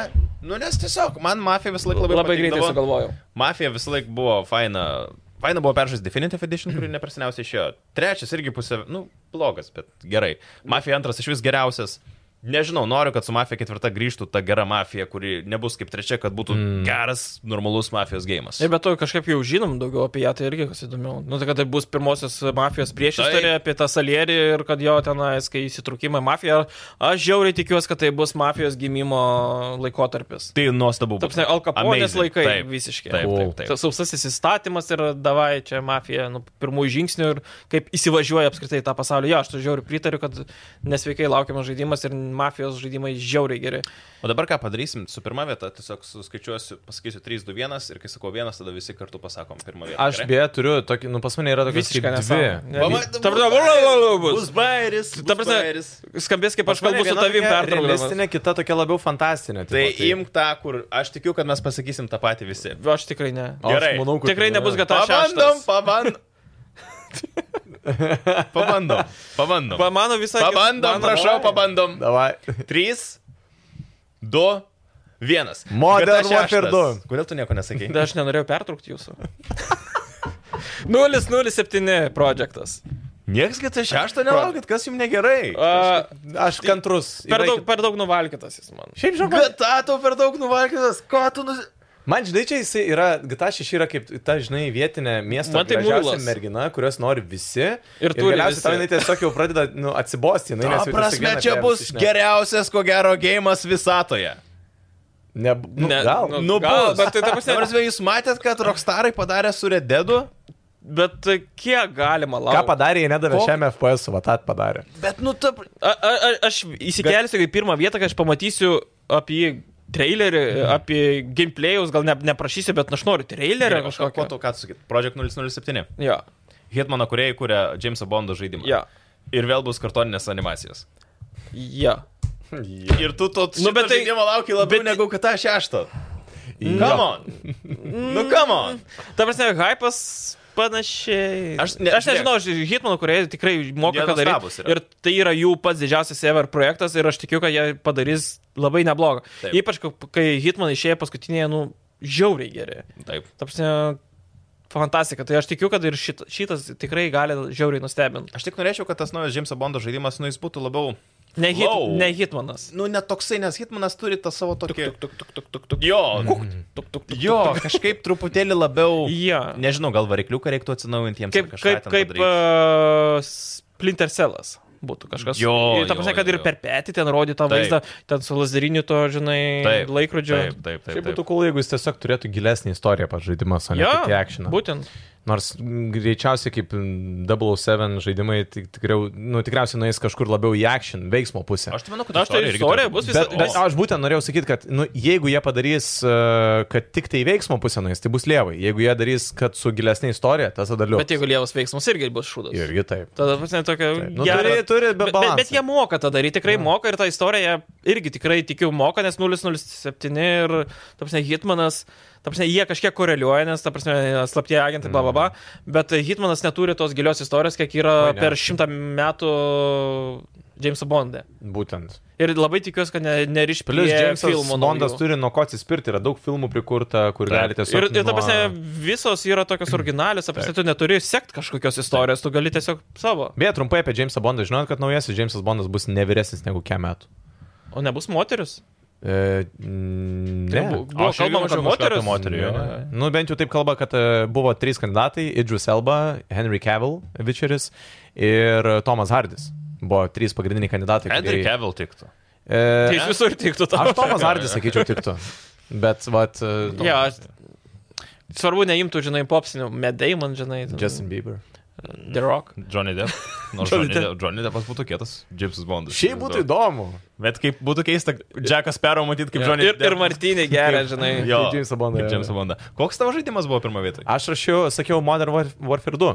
A: Nu, nes tiesiog, man mafija visą laiką labai,
B: Labai greitai
A: patikdavo.
B: sugalvojau.
A: Mafija visą laiką buvo faina Vaina buvo peržais Definitive Edition, kurį neprasiniausiai išėjo. Trečias irgi pusė, nu, blogas, bet gerai. Mafija antras iš vis geriausias. Nežinau, noriu, kad su Mafija ketvirta grįžtų ta gera mafija, kuri nebus kaip trečia, kad būtų mm. geras, normalus mafijos gėjimas.
B: Ir be to kažkaip jau žinom daugiau apie ją, tai irgi kas įdomiau. Nu, tai kad tai bus pirmosios mafijos
A: Tai-
B: priešistorė apie tą salierį ir kad jo tenais, kai įsitraukimą į mafiją, aš žiauriai tikiuosi, kad tai bus mafijos gimimo laikotarpis.
A: Tai nuostabu.
B: Taip,
A: būtų.
B: ne, alkaponės
A: Amazing.
B: laikai
A: Taip,
B: visiškai.
A: Taip, taip, taip.
B: Tas sausasis įstatymas ir davai čia mafija nuo pirmųjų žingsnių ir kaip įsivažiuoja apskritai į tą pasaulį. Jo, aš to žiauriai pritariu, kad nesveikai laukiamas žaidimas ir mafijos žaidimai žiauriai geri.
A: O dabar ką padarysim? Su pirma vieta tiesiog suskaičiuosiu, pasakysiu 3, 2, 1 ir kai sakau 1, tada visi kartu pasakom pirmą vietą.
C: Aš beje turiu, tokį, nu pas mane yra tokia
B: Visiškai nesąmonė.
C: dvi.
B: Ne. Ta prasme, vo- vo- vo- vo- bus.
A: Bus bairis.
B: Ta prasme, skambės kaip aš kalbu su tavim pertraukdamas.
C: Realistinė, kita tokia labiau fantastinė. tipo,
A: Tai imk tą, kur aš tikiu, kad mes pasakysim tą patį visi.
B: Aš tikrai ne.
C: O aš
A: gerai.
C: manau, kad-
B: Tikrai nebus gata- Ta
A: Pabandom,
B: šeštas.
A: pabandom. Pabandom, pabandom.
B: Pa, mano visą
A: Pabandom, prašau, pabandom.
C: Davai.
A: 3, 2, 1.
C: Modern Warfare 2.
A: Kodėl tu nieko nesakai?
B: Da, tai aš nenorėjau pertraukti jūsų. 007 projektas.
A: Niekas kita šeštą nelaukit, kas jums negerai.
B: A, tai
C: Aš kantrus.
B: per,
C: Yra
B: daug,
C: iki-
B: per daug nuvalkytas jis man.
C: Šiaip žinau, kad...
A: Gata, tu per daug nuvalkytas, ko tu nu- nus...
C: Man, žinai, čia jis yra, GTA 6 yra kaip ta, žinai, vietinė miesto
B: Man tai
C: gražiausia
B: muilas.
C: mergina, kurios nori visi.
B: Ir turi
C: galiausiai tau
B: visi.
C: jinai tiesiog jau pradeda nu, atsibosti. Jinai,
A: Ta
C: nes jau
A: prasme,
C: tiesiog
A: čia
C: viena
A: bus
C: apie ją visi šneka.
A: geriausias, ko gero, gėjimas visatoje.
C: Ne, nu, ne, gal. Nu,
A: Nu,
B: gal,
A: bus.
B: bet tai ta
A: Ta
B: prasme.
A: prasme, jūs matėt, kad Rockstarai padarė su Rededu,
B: Bet e, kiek galima
C: ką
B: laukti?
C: padarė, jie nedavė
A: Ko-
C: šiam FPS, va tą padarė.
A: bet nu, ta... pr-
B: A- a- a- Aš įsikelsiu į pirmą vietą, kai aš pamatysiu apie jį trailerį, apie gameplayus, gal ne, neprašysiu, bet aš noriu trailerio
A: Ko
B: kažkokio.
A: tu ką tu sakyt? Project 007.
B: Jo,
A: Hitmano kuriejai kūrė Jameso Bondo žaidimą.
B: jo,
A: Ir vėl bus kartoninės animacijos.
B: jo.
A: Ir tu to
B: Nu, bet tai-
A: žaidimo lauki labiau
B: bet-
A: negu kad tą šeštą.
C: Jo.
A: Come on. nu, come on.
B: Ta prasme, hypas panašiai.
A: Aš ne-
B: aš nežinau, aš Hitmano, kurie tikrai moka
A: Jie
B: ką daryti.
A: nuostabūs yra.
B: Ir tai yra jų pats didžiausias ever projektas ir aš tikiu, kad jie padarys labai neblogą.
A: Taip.
B: Ypač, kai- kai Hitman išėjo paskutinėje, nu, žiauriai geri.
A: Taip.
B: Ta prasme, fantastika. Tai aš tikiu, kad ir šit, šitas tikrai gali žiauriai nustebinti.
A: Aš tik norėčiau, kad tas naujas Jameso Bondo žaidimas, nu, jis būtų labiau...
B: Ne, hit,
A: Wow.
B: ne Hitmanas.
A: Nu, netoksai, nes Hitmanas turi tą savo tokį...
B: Tuk, tuk, tuk, tuk, tuk.
A: Jo.
B: Tuk, tuk, tuk.
A: Mm. Jo, kažkaip truputėlį labiau...
B: Jo.
A: Nežinau, gal varikliuką reiktų atsinaujinti jiems. ar
B: Kaip,
A: kažką
B: kaip,
A: ten
B: kaip
A: padaryt.
B: uh, Splinter Cellas būtų kažkas.
A: Jo,
B: Ir ta prasme,
A: jo,
B: kad
A: jo,
B: ir
A: jo.
B: per petį ten rodytą
A: Taip.
B: vaizdą, ten su lazeriniu to, žinai,
A: Taip,
B: laikrodžiu.
A: Taip, taip,
C: Tai
A: taip.
C: būtų
A: taip.
C: cool, jeigu jis tiesiog turėtų gilesnį istoriją pats žaidimas, o ne
B: Jo,
C: tik akcioną.
B: būtent.
C: Nors mm, greičiausiai kaip mm, 007 žaidimai tik, tikriau, nu, tikriausiai nueis kažkur labiau į action, veiksmo pusę.
A: Aš tai manau, kad
B: Na, aš tai
A: irgi
B: istorija
A: turi
B: bus
A: būt.
B: visą-
C: Bet,
A: Bet-
C: bet
A: o,
C: aš būtent norėjau sakyti, kad nu, jeigu jie padarys, e, kad tik tai veiksmo pusė nueis, tai bus lievai. Jeigu jie darys, kad su gilesnė istorija, tas tada liūdna.
B: Bet jeigu lievas veiksmas irgi bus šūdas.
C: Irgi taip.
B: Tada, prasme, tokia.
C: Taip. Nu,
B: gera-
C: turi- turi be
B: bet, bet,
C: balanso.
B: bet jie moka tą daryti, tikrai ja. moka ir tą istoriją irgi tikrai tikiu moka, nes 007 ir, ta prasme, Hitmanas, ta prasme, jie kažkiek koreliuoja, nes, ta prasme, slaptie agentai, bla, bla, bla, bet Hitmanas neturi tos gilios istorijos, kiek yra
C: Mm. Oi, ne.
B: per šimtą metų Jameso Bondė.
C: Būtent.
B: Ir labai tikiuosi, kad ne, neriš prie
C: Plius Džeimsas
B: filmo.
C: Bondas
B: naujų.
C: turi nuo ko atsispirti, yra daug filmų prikurta, kur
A: Taip.
C: galite
B: Ir,
C: tiesiog...
B: ir ta
C: nuo-
B: prasme, visos yra tokios originalios, ta prasme, tu neturi sekti kažkokios istorijos, tu gali tiesiog savo.
C: Beje, trumpai apie Džeimsą Bondą. Žinot, kad naujasis Džeimsas Bondas bus ne vyresnis negu kiek metų.
B: O nebus moteris?
C: E, mm, ne.
B: Tai
A: A,
B: Bu- Buvo
A: aš irgi
B: kalbama
A: mačiau
B: apie
A: kažką apie
B: moteris.
A: moterį, jo, jo,
B: Jo.
C: Nu, bent jau taip kalba, kad e, buvo trys kandidatai - Idris Elba, Henry Cavill, Vicheris ir Tomas Hardis. Buvo trys pagrindiniai kandidatai.
A: Henry Cavill tiktų.
B: Tai
C: E,
B: iš visur tiktų tau.
C: aš Tomas Hardis sakyčiau tiktų. Bet, vat, e,
B: Jo, aš... Svarbu neimtų, žinai, popsinių, medai man, žinai, ten-
C: Justin Bieber.
B: The Rock.
A: Johnny Depp. Nors
B: Johnny
A: Johnny, Depp. Johnny Deppas būtų kietas, Jamesas Bondas.
C: Šiaip būtų įdomu.
A: Bet kaip būtų keista, Jackas Perro matyti kaip
B: Jo.
A: Johnny
B: ir, ir Martinė geria, žinai.
A: Jo,
C: Kaip Jamesą Bondą,
A: Kaip
C: jo.
A: Jamesą Bondą. Koks tavo žaidimas buvo pirmoje vietoje?
C: Aš rašiau, sakiau Modern Warf- Warfare 2.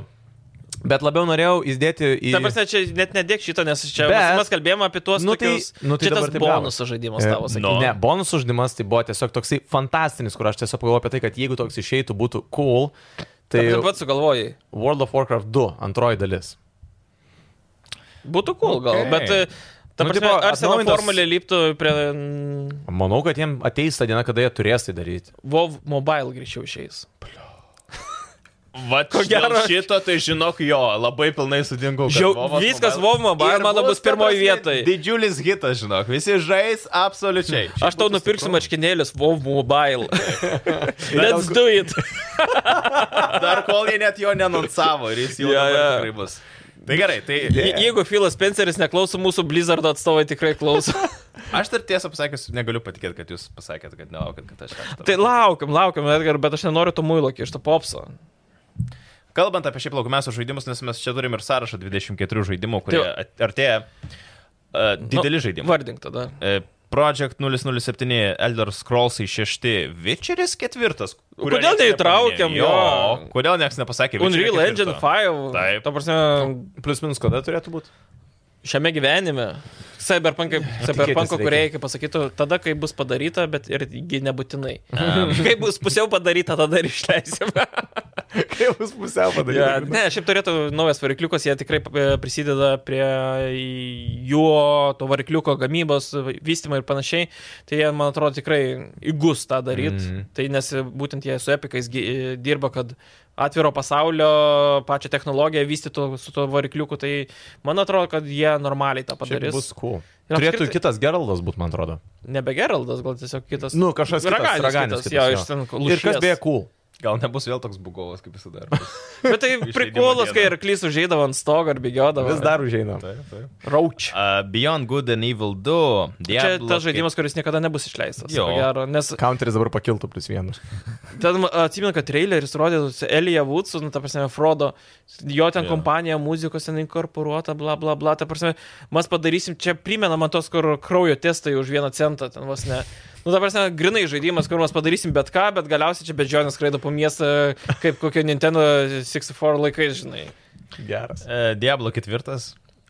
C: Bet labiau norėjau įdėti į...
B: Ta prasme, čia net nedėk šito, nes čia
C: Bet-
B: mes, mes kalbėjome apie tuos,
C: Nu
B: nu,
C: tai-
B: tai, tokius,
C: nu tai
B: čia
C: dabar
B: tas
C: taip nu
B: bonusų
C: gavos.
B: žaidimas tavo,
A: no.
B: sakyčiau.
A: O.
C: E, Ne, bonusų uždimas tai buvo tiesiog toksai fantastinis, kur aš tiesiog pagalvojau apie tai, kad jeigu toks išeitų, būtų cool. Tai
B: Taip pat sugalvojai.
C: World of Warcraft 2 antroji dalis.
B: Būtų cool gal,
A: Okay.
B: bet... e, Ta
C: Nu,
B: prasme,
C: tipo,
B: ar savo
C: atnaujintas-
B: formulė liptų prie... mm,
C: Manau, kad jiem ateis ta diena, kada jie turės tai daryti.
B: WoW mobile greičiau išeis.
A: Vat ko
B: Ko
A: gero
B: gero-
A: šito, tai žinok jo, labai pilnai sutinku. kad
B: Žiau,
A: Vovas
B: viskas
A: Mobile-
B: WoW Mobile,
A: Ir
B: mano bus
A: ta
B: pirmoj
A: prasme,
B: vietoj.
A: Didžiulis hitas, žinok, visi žais absoliučiai.
B: Aš tau nupirksiu marškinėlius WoW Mobile. Let's do it.
A: Dar kol jie net jo nenunsavo ir jis jau
B: Jo,
A: yeah,
B: jo.
A: yeah. tikrai bus. Tai gerai, tai
B: Je- Jeigu Filas Spenceris neklauso mūsų Blizzard atstovai, tikrai klauso.
A: aš dar tiesą pasakius, negaliu patikėti, kad jūs pasakėt, kad nelaukit, kad aš. aš-
B: tai laukiam, laukiam, Edgar, bet aš nenoriu to muilo iš to popso.
A: Kalbant apie šiaip laukiamiausius žaidimus, nes mes čia turim ir sąrašą 24 žaidimų, kurie
B: Tai- Nu,
A: at- artėja. Uh, dideli žaidimai.
B: Vardink tada.
A: E, Project 007, Elder Scrolls 6, Witcheris 4. kurio
B: Kodėl
A: nieks
B: neįtraukiam
A: nepaminėjo?
B: jo?
A: Jo, kodėl niekas nepasakė? Witcherio
B: Unreal Engine
A: ketvirto?
B: 5.
A: Taip.
B: Ta prasme,
C: Plius minus kada turėtų būti?
B: šiame gyvenime. Cyberpunk, cyberpunk
C: reikia.
B: kuriai, kaip pasakytų, tada, kai bus padaryta, bet irgi nebūtinai. Kai bus pusiau padaryta, tada ir išleisime.
C: Kai bus
B: Ja,
C: pusiau padaryta.
B: ne, šiaip turėtų naujas varikliukas, jie tikrai e, prisideda prie juo, to varikliuko gamybos, vystimo ir panašiai. Tai jie, man atrodo, tikrai įgus tą daryti. Mm.
C: Mhm.
B: Tai nes būtent jie su epikais gi- e, dirba, kad atviro pasaulio pačią technologiją vystytų su to varikliuku. Tai man atrodo, kad jie normaliai tą
C: Čia
B: padarys.
C: bus cool.
B: Ir
C: Turėtų
B: apskritai-
C: kitas Geraldas būti, man atrodo.
B: Nebe Geraldas, gal tiesiog kitas.
C: Nu, kažkas kitas,
B: Raganis
C: Raganis
B: kitas,
C: kitas,
B: jo,
C: jo.
B: iš ten
C: Ir kas
B: lūšies.
C: beje cool.
A: Gal nebus vėl toks bugovas, kaip visada. ar bus?
B: Bet tai
A: Išleidimo
B: prikuolas, kai
A: dieną.
B: arklys užžeidavo ant stogo ar bėgiodavo.
C: Vis dar užeina.
B: Rauč.
A: A, Beyond Good and Evil 2.
B: Čia
A: Diablo
B: tas žaidimas, kuris niekada nebus išleistas.
A: Jo.
B: ko Gero, nes
C: Counteris dabar pakiltų plus vienas.
B: ten atsimenu, kad traileris rodė Elija Woodsų, nu, ta prasme, Frodo, jo ten
A: Jo.
B: kompanija, muzikos ten inkorporuota, bla, bla, bla. Ta prasme, mes padarysim, čia primena man tos, kur kraujo testai už vieną centą, ten vos ne. Nu, ta prasme, grinai žaidimas, kur mes padarysim bet ką, bet galiausiai čia bežionės skraido po miestą, kaip kokio Nintendo 64 laikais, žinai.
C: Geras.
A: Ke- e, Diablo 4.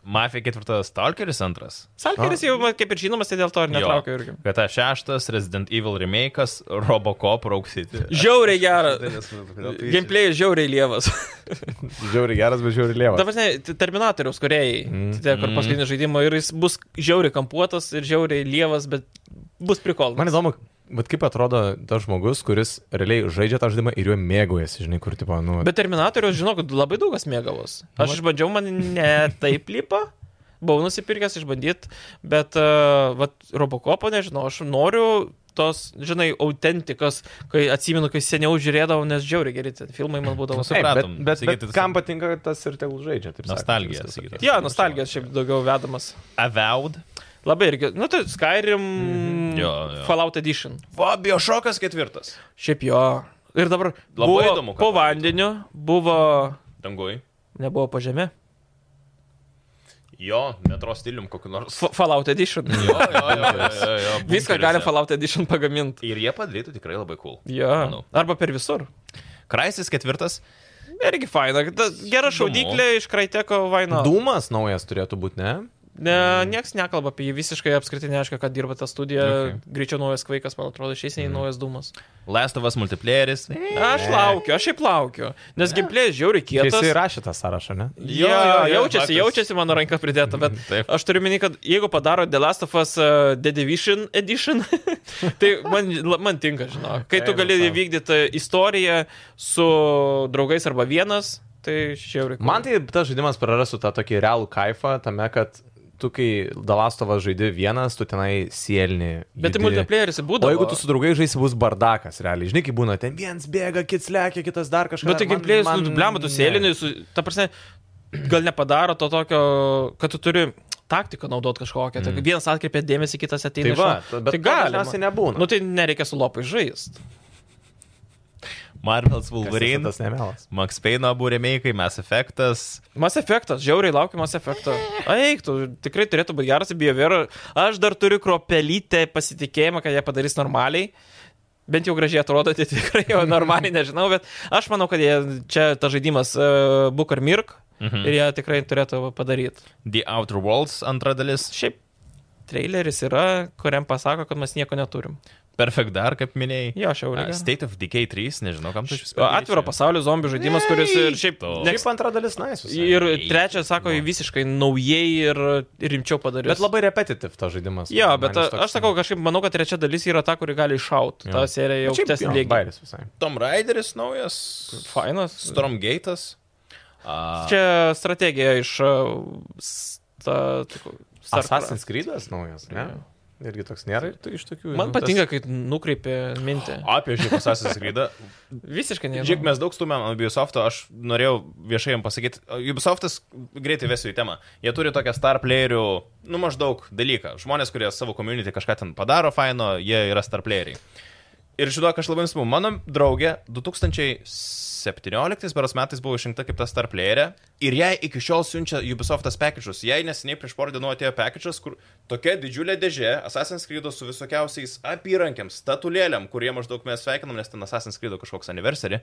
A: Mafija 4. Stalkeris 2.
B: Salkeris jau man kaip ir žinomas, tai dėl to ir netraukiu irgi.
A: GTA 6. Resident Evil remake'as. Robocop rauksyti.
B: Žiauriai geras. Gameplay žiauriai lievas.
C: Žiauri geras, bet žiauri lievas.
B: Dabar, ne, Terminatoriaus kuriejai, mm. tie, kur paskutinis žaidimo ir jis bus žiauriai kampuotas ir žiauriai lievas, bet bus prikol.
C: Man įdomu, bet kaip atrodo tas žmogus, kuris realiai žaidžia tą žaidimą ir juo mėgaujasi, žinai, kur tipo, nu...
B: Bet Terminatoriaus, žinau, kad labai daugas mėgavos. Aš išbandžiau, man ne taip lypa. Buvau nusipirkęs išbandyti, bet uh, vat, Robocopo nežinau, aš noriu tos, žinai, autentikas, kai atsimenu, kai seniau žiūrėdavau, nes žiauriai geri ten filmai man būdavo.
A: Ei, supratom.
C: bet, bet,
A: Sigita,
C: bet
A: tas-
C: kam patinka tas ir tegul žaidžia, taip sakant,
A: Nostalgija,
C: viskas
A: Sigita.
C: okei.
B: Jo, nostalgijos šiaip daugiau vedamas.
A: Avowed.
B: Labai irgi, nu tai Skyrim, mm.
A: Jo, jo.
B: Fallout Edition.
A: Fabio šokas 4.
B: Šiaip jo. Ir dabar
A: Labai
B: buvo,
A: įdomu, ką
B: Po
A: padarytų.
B: vandeniu buvo.
A: Dangui.
B: Nebuvo po žemė.
A: Jo, metro stilium kokiu nors.
B: F Fallout Edition.
A: Jo, jo, jo, jo, jo, jo,
B: Viską
A: bunkeriuose.
B: gali Fallout Edition pagaminti.
A: Ir jie padarytų tikrai labai cool.
B: Jo.
A: Manau.
B: Arba per visur.
A: Kraisis ketvirtas.
B: Irgi faina. Ta Gera šaudyklė iš Kraiteko vaino.
C: Dūmas naujas turėtų būti, ne?
B: Ne,
A: Mm.
B: nieks nekalba apie jį. Visiškai apskritai neaišku, kad dirba ta studija. Okay. Greičiau naujas vaikas, man atrodo, šiais
A: Mm.
B: nei naujas dūmas.
A: Last of Us multiplayeris.
B: Aš laukiu, aš šiaip laukiu. Nes giplė žiauri
C: Tai
B: kietas.
C: Jisai rašė tą sąrašą, ne?
A: Jo,
B: Jo,
A: jo,
B: jo,
A: jo,
B: jaučiasi,
A: faktas.
B: jaučiasi mano ranka pridėta, bet
C: Mm,
A: Taip.
B: aš turiu minį, kad jeigu padaro The Last of Us uh, The Division Edition, tai man, la- man tinka, žinau. Kai tu
C: Eina
B: gali
C: sau.
B: vykdyti istoriją su draugais arba vienas, tai šiauriai.
C: Man tai tas žaidimas prarastų tą tokį realų kaifą tame, kad tu, kai Dalastovas žaidi vienas, tu tenai sielni.
B: Bet tai
C: judi.
B: multiplayeris būdavo.
C: O jeigu tu su draugais žaisi, bus bardakas, realiai. Žinai, kai būna, ten vienas bėga, kitas lekia, kitas dar kažką.
B: Bet tai
C: Man-
B: gameplay,
C: man-
B: nu, blemba, tu
C: ne.
B: sėlinai, su... ta prasme, gal nepadaro to tokio, kad tu turi taktiką naudot kažkokią. Mm. Vienas atkreipia dėmesį, kitas ateina.
C: Tai
B: iš
C: va,
B: šono.
C: ta- bet
B: tai
C: to dažniausiai
B: gali.
C: nebūna.
B: Nu tai nereikia su lopai žaisti.
A: Marvel's
C: Kas
A: Wolverine.
C: esi Tas nemelas.
A: Max Payne abu remake, Mass Effectas.
B: Mas efektas, žiauriai laukiu mas efekto. Eik, tu tikrai turėtų būti geras, biovėra. Aš dar turiu kropelytę pasitikėjimą, kad jie padarys normaliai. Bent jau gražiai atrodo, tai tikrai jau normaliai nežinau, bet aš manau, kad jie, čia tas žaidimas uh, Book ar Mirk mhm. ir jie tikrai turėtų padaryti.
A: The Outer Worlds antra dalis.
B: Šiaip traileris yra, kuriam pasako, kad mes nieko neturim.
A: Perfect dar, kaip minėjai.
B: Jo, aš jau
A: A,
B: reikia.
A: State of Decay 3, nežinau, kam tu šis.
B: Atviro pasaulio zombių žaidimas, kuris ir šiaip...
A: to.
B: Next,
C: Šiaip antra dalis nice. visai.
B: ir trečias, sako, visiškai naujai ir rimčiau padarytas.
C: Bet labai repetitiv to žaidimas.
B: Jo,
C: Man
B: bet
C: jis
B: a,
C: toks-
B: aš sakau, kažkaip manau, kad trečia dalis yra ta, kuri gali iššauti. Ta serija jau
C: Bet šiaip,
B: aukštesnė
C: jo,
B: lygiai.
C: bairis visai.
A: Tom Raideris naujas.
B: Fainas.
A: Stormgate'as. A,
B: Čia strategija iš... uh, Sta, Starcraft.
C: Assassin's Creed'as naujas, ne? Irgi toks nėra tu iš tokių.
B: Man
C: nu,
B: patinka, kai nukreipi mintį.
A: Apie šį Assassin's Creed'ą.
B: Visiškai ne.
A: Žiūrėk, mes daug stumėm ant Ubisofto, aš norėjau viešai jam pasakyti, Ubisoftas greitai vesiu į temą. Jie turi tokią star playerių, nu maždaug dalyką. Žmonės, kurie savo community kažką ten padaro faino, jie yra star playeriai. Ir žinok, aš labai nesmu, mano draugė 2017 beros metais buvo išrinkta kaip ta star playerė ir jai iki šiol siunčia Ubisoftas packages. Jai neseniai prieš porą dienų atėjo packages, kur tokia didžiulė dėžė Assassin's Creed su visokiausiais apyrankiams, statulėliam, kurie maždaug mes sveikinam, nes ten Assassin's Creed kažkoks anniversary.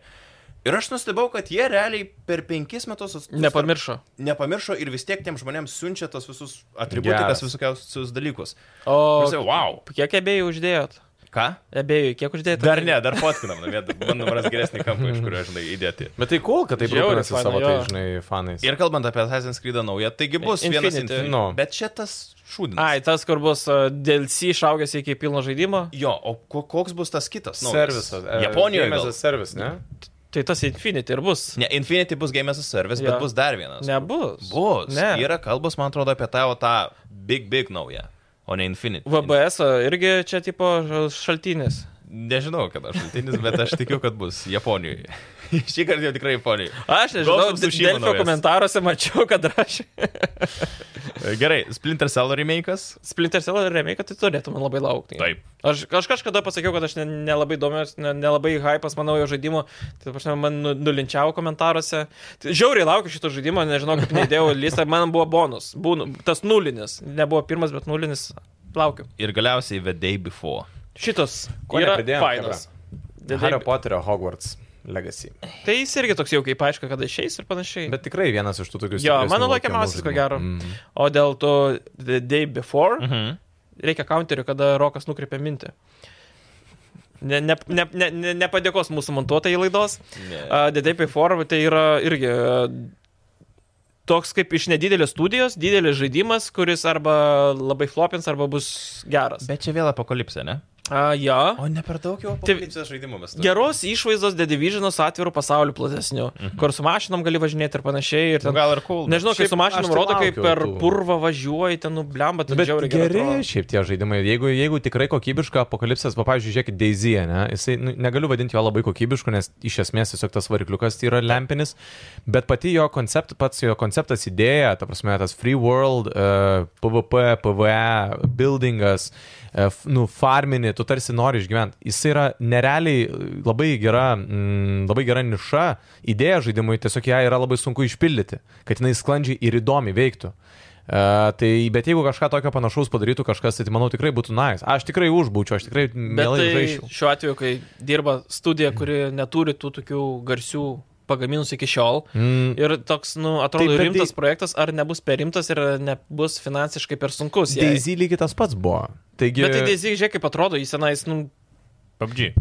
A: Ir aš nustebau, kad jie realiai per penkis metus ats-
B: Nepamiršo.
A: nepamiršo ir vis tiek tiem žmonėms siunčia tos visus atributikas,
C: Geras.
A: visokiausius dalykus.
B: O
A: Ir aš sakiau, wow,
B: kiek ebėjų uždėjot?
A: ką?
B: Ebėjų, kiek uždėjot?
A: Dar ne, dar fotkinam, namie, dar bandom rasti geresnį kampą, iš kurio, žinai, įdėti.
C: Bet tai cool, kad taip
B: Žiauriai
C: rūpinasi
B: faina,
C: savo,
B: jo.
C: tai, žinai, fanais.
A: Ir kalbant apie Assassin's Creed naują, taigi bus Infinity. vienas
B: Infinity.
A: Infinity.
C: Nu.
A: Bet čia tas šūdinas.
B: Ai, tas, kur bus uh, DLC išaugęs iki pilno žaidimo,
A: Jo, o ko- koks bus tas kitas?
B: nu,
A: naujas?
C: Servisas.
A: uh,
C: e,
A: Japonijoje.
C: Game as a
A: gal?
C: Service, ne?
B: tai tas Infinity ir bus.
A: Ne, Infinity bus Game as a Service,
B: Jo.
A: bet bus dar vienas.
B: Nebus.
A: Bus.
B: Ne.
A: Yra kalbos, man atrodo, apie tavo tą Big Big naują, o ne Infinity.
B: VBS irgi čia tipo šaltinis.
A: Nežinau, kada šaltinis, bet aš tikiu, kad bus Japonijoje. Šį kartą jau tikrai Japonijoje.
B: Aš nežinau,
A: Ghost of Tsushima
B: Delfio
A: naujas.
B: komentaruose mačiau, kad rašė.
A: Gerai, Splinter Cell remake'as.
B: Splinter Cell remake, tai turėtų man labai laukti.
A: Taip.
B: Aš, aš kažkada pasakiau, kad aš ne- nelabai domiuosi, ne- nelabai hypas manau jo žaidimo, tai ta prasme, man nu- nulinčiavo komentaruose. Tai Žiauriai laukiu šito žaidimo, nežinau, kaip neįdėjau listą, man buvo bonus, būn, tas nulinis, nebuvo pirmas, bet nulinis, laukiu.
A: Ir galiausiai The Day Before.
B: Šitas
C: Ko
B: yra
C: nepridėjom,
B: fainas.
C: The Harry Potterio Hogwarts Legacy.
B: Tai jis irgi toks jau kaip aišku, kada išeis ir panašiai.
C: Bet tikrai vienas iš tų tokių...
B: Jo,
C: stipresnių
B: mano
C: laukiamų
B: laukiamiausias, ko
C: žaidimų.
B: gero.
C: Mm.
B: O dėl to The Day Before
A: Mhm.
B: reikia counterių, kada Rokas nukreipia mintį. Ne, ne, ne, ne, ne, nepadėkos mūsų montuotojai laidos. Uh, The Day Before tai yra irgi uh, toks kaip iš nedidelės studijos, didelis žaidimas, kuris arba labai flopins, arba bus geras.
A: Bet čia vėl apokalipsė, ne?
B: Uh, jo.
A: O ne per daug jau apokalipsės žaidimų mes turime.
B: Geros išvaizdos The Division su atviru pasauliu platesniu, mhm. kur su mašinom gali važinėti ir panašiai. Ir
A: Nu,
B: ten...
A: gal ir cool.
B: Nežinau, kai
C: Šiaip
B: su mašinom
C: aš tai
B: rodo, kaip
C: laukiu
B: per
C: tų.
B: purvą važiuoji, ten nublemba,
C: Nu,
B: tai
C: bet
B: žiauriai
C: geri
B: gerai.
C: šiaip tie žaidimai. Jeigu, jeigu tikrai kokybiška apokalipsės, va, pavyzdžiui, žiūrėkit Daisy, ne? Jisai, nu, negaliu vadinti jo labai kokybišku, nes iš esmės tiesiog tas varikliukas tai yra lempinis, bet pati jo koncept, pats jo konceptas idėja, ta prasme, tas free world, uh, PvP, PvE, E, buildingas, uh, f- nu, farmini, tu tarsi nori išgyventi. Jisai yra nerealiai e, labai gera, mm, labai gera niša, idėja žaidimui, tiesiog ją yra labai sunku išpildyti, kad jinai sklandžiai ir įdomiai veiktų. E, tai bet jeigu kažką tokio panašaus padarytų kažkas, tai manau tikrai būtų nais. Nice. Aš tikrai užbūčiau, aš tikrai
B: Bet
C: mielai tai...
B: tai
C: žaisčiau.
B: šiuo atveju, kai dirba studija, kuri neturi tų tokių garsių pagaminus iki šiol.
C: Mm,
B: Ir toks, nu, atrodo,
C: Taip, bet
B: rimtas
C: tai-
B: projektas, ar nebus per rimtas ir nebus finansiškai per sunkus. jai.
C: Daisy lygiai tas pats buvo. Taigi,
B: Bet tai Daisy, žiūrėk, kaip atrodo, jis senais, nu,
A: PUBG.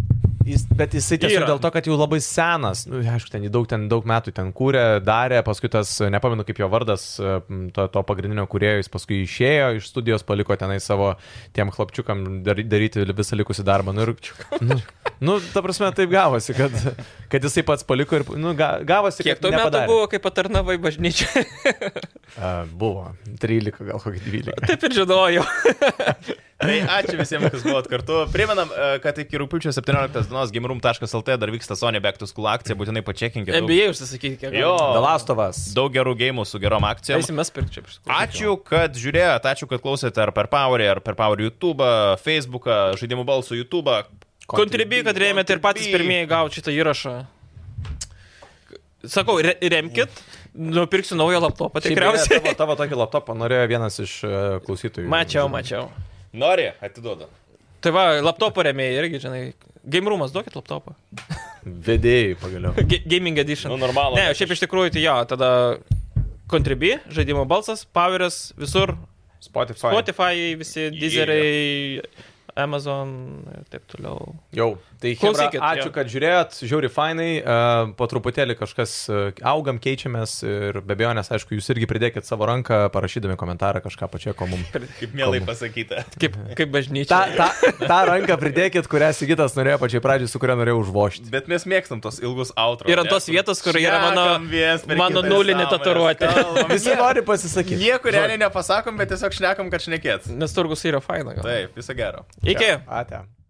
C: jis, bet jisai tiesiog
B: Yra.
C: dėl to, kad jau labai senas, nu, aišku, ten jį daug, ten, daug metų ten kūrė, darė, paskui tas, nepamenu kaip jo vardas, e, m, to, to pagrindinio kūrėjo, jis paskui išėjo iš studijos, paliko tenai savo tiem chlapčiukam dar, daryti visą likusį darbą. Nu, ir, nu, nu, ta prasme, taip gavosi, kad, kad jisai pats paliko ir, nu, ga- gavosi,
B: kiek
C: kad
B: tuo metu
C: nepadarė.
B: buvo, kai patarnavai bažnyčiai.
C: A, buvo 13, gal kokį 12.
B: Taip ir žinojau.
A: Tai ačiū visiems, kas buvot kartu. Priminam, e, kad iki rūpiučio 17 dienos gimrum.lt dar vyksta Sonia Back to School akcija, būtinai pačekinkite. Daug,
B: Nebijai užsisakyti, kiek.
A: Jo.
C: Dalastovas.
A: daug gerų gėjimų su gerom akcijom.
B: Eisime pirkti čia.
A: Ačiū, kad žiūrėjote, ačiū, kad klausėte ar per Powerį, ar per Power YouTube, Facebooką, žaidimų balsų YouTube.
B: Kontribijai, kad rėmėte ir patys
A: Contribui.
B: pirmieji gauti šitą įrašą. Sakau, re remkit, nupirksiu naują laptopą tikriausiai.
C: Tavo, tavo tokį laptopą norėjo vienas iš e, klausytojų.
B: Mačiau, mačiau.
A: Nori, atiduodu.
B: Tai va, laptopo remėjai irgi, žinai. Game roomas, duokit laptopą.
C: Vedėjai pagaliau.
B: Ga- Gaming edition.
A: Nu, normalu.
B: Ne, šiaip iš tikrųjų, tai jo, tada Contribui, žaidimo balsas, Poweris, visur,
C: Spotify.
B: Spotify, visi, Deezeriai, Amazon ir taip toliau.
C: Jau. Tai Hebra,
B: Klausykit,
C: ačiū,
B: jo.
C: kad žiūrėjot, žiūri fainai, e, po truputėlį kažkas e, augam, keičiamės ir be abejo, nes aišku, jūs irgi pridėkit savo ranką, parašydami komentarą kažką pačio, ko mums.
A: Kaip mielai pasakyta.
B: Kaip, kaip bažnyčia.
C: Ta, ta, ta ranką pridėkit, kurią Sigitas norėjo pačiai pradžiai, su kuria norėjau užvošti.
A: Bet mes mėgstam tos ilgus outro.
B: Ir ant tos vietos, kur yra mano- mano nulinė tatuiruotė.
C: Visi nori pasisakyti.
A: Nieko realiai nepasakom, bet tiesiog šnekam, kad šnekėt.
B: Nes turgus yra faina. gal.
A: Taip, viso gero.
B: Iki.
C: Ate.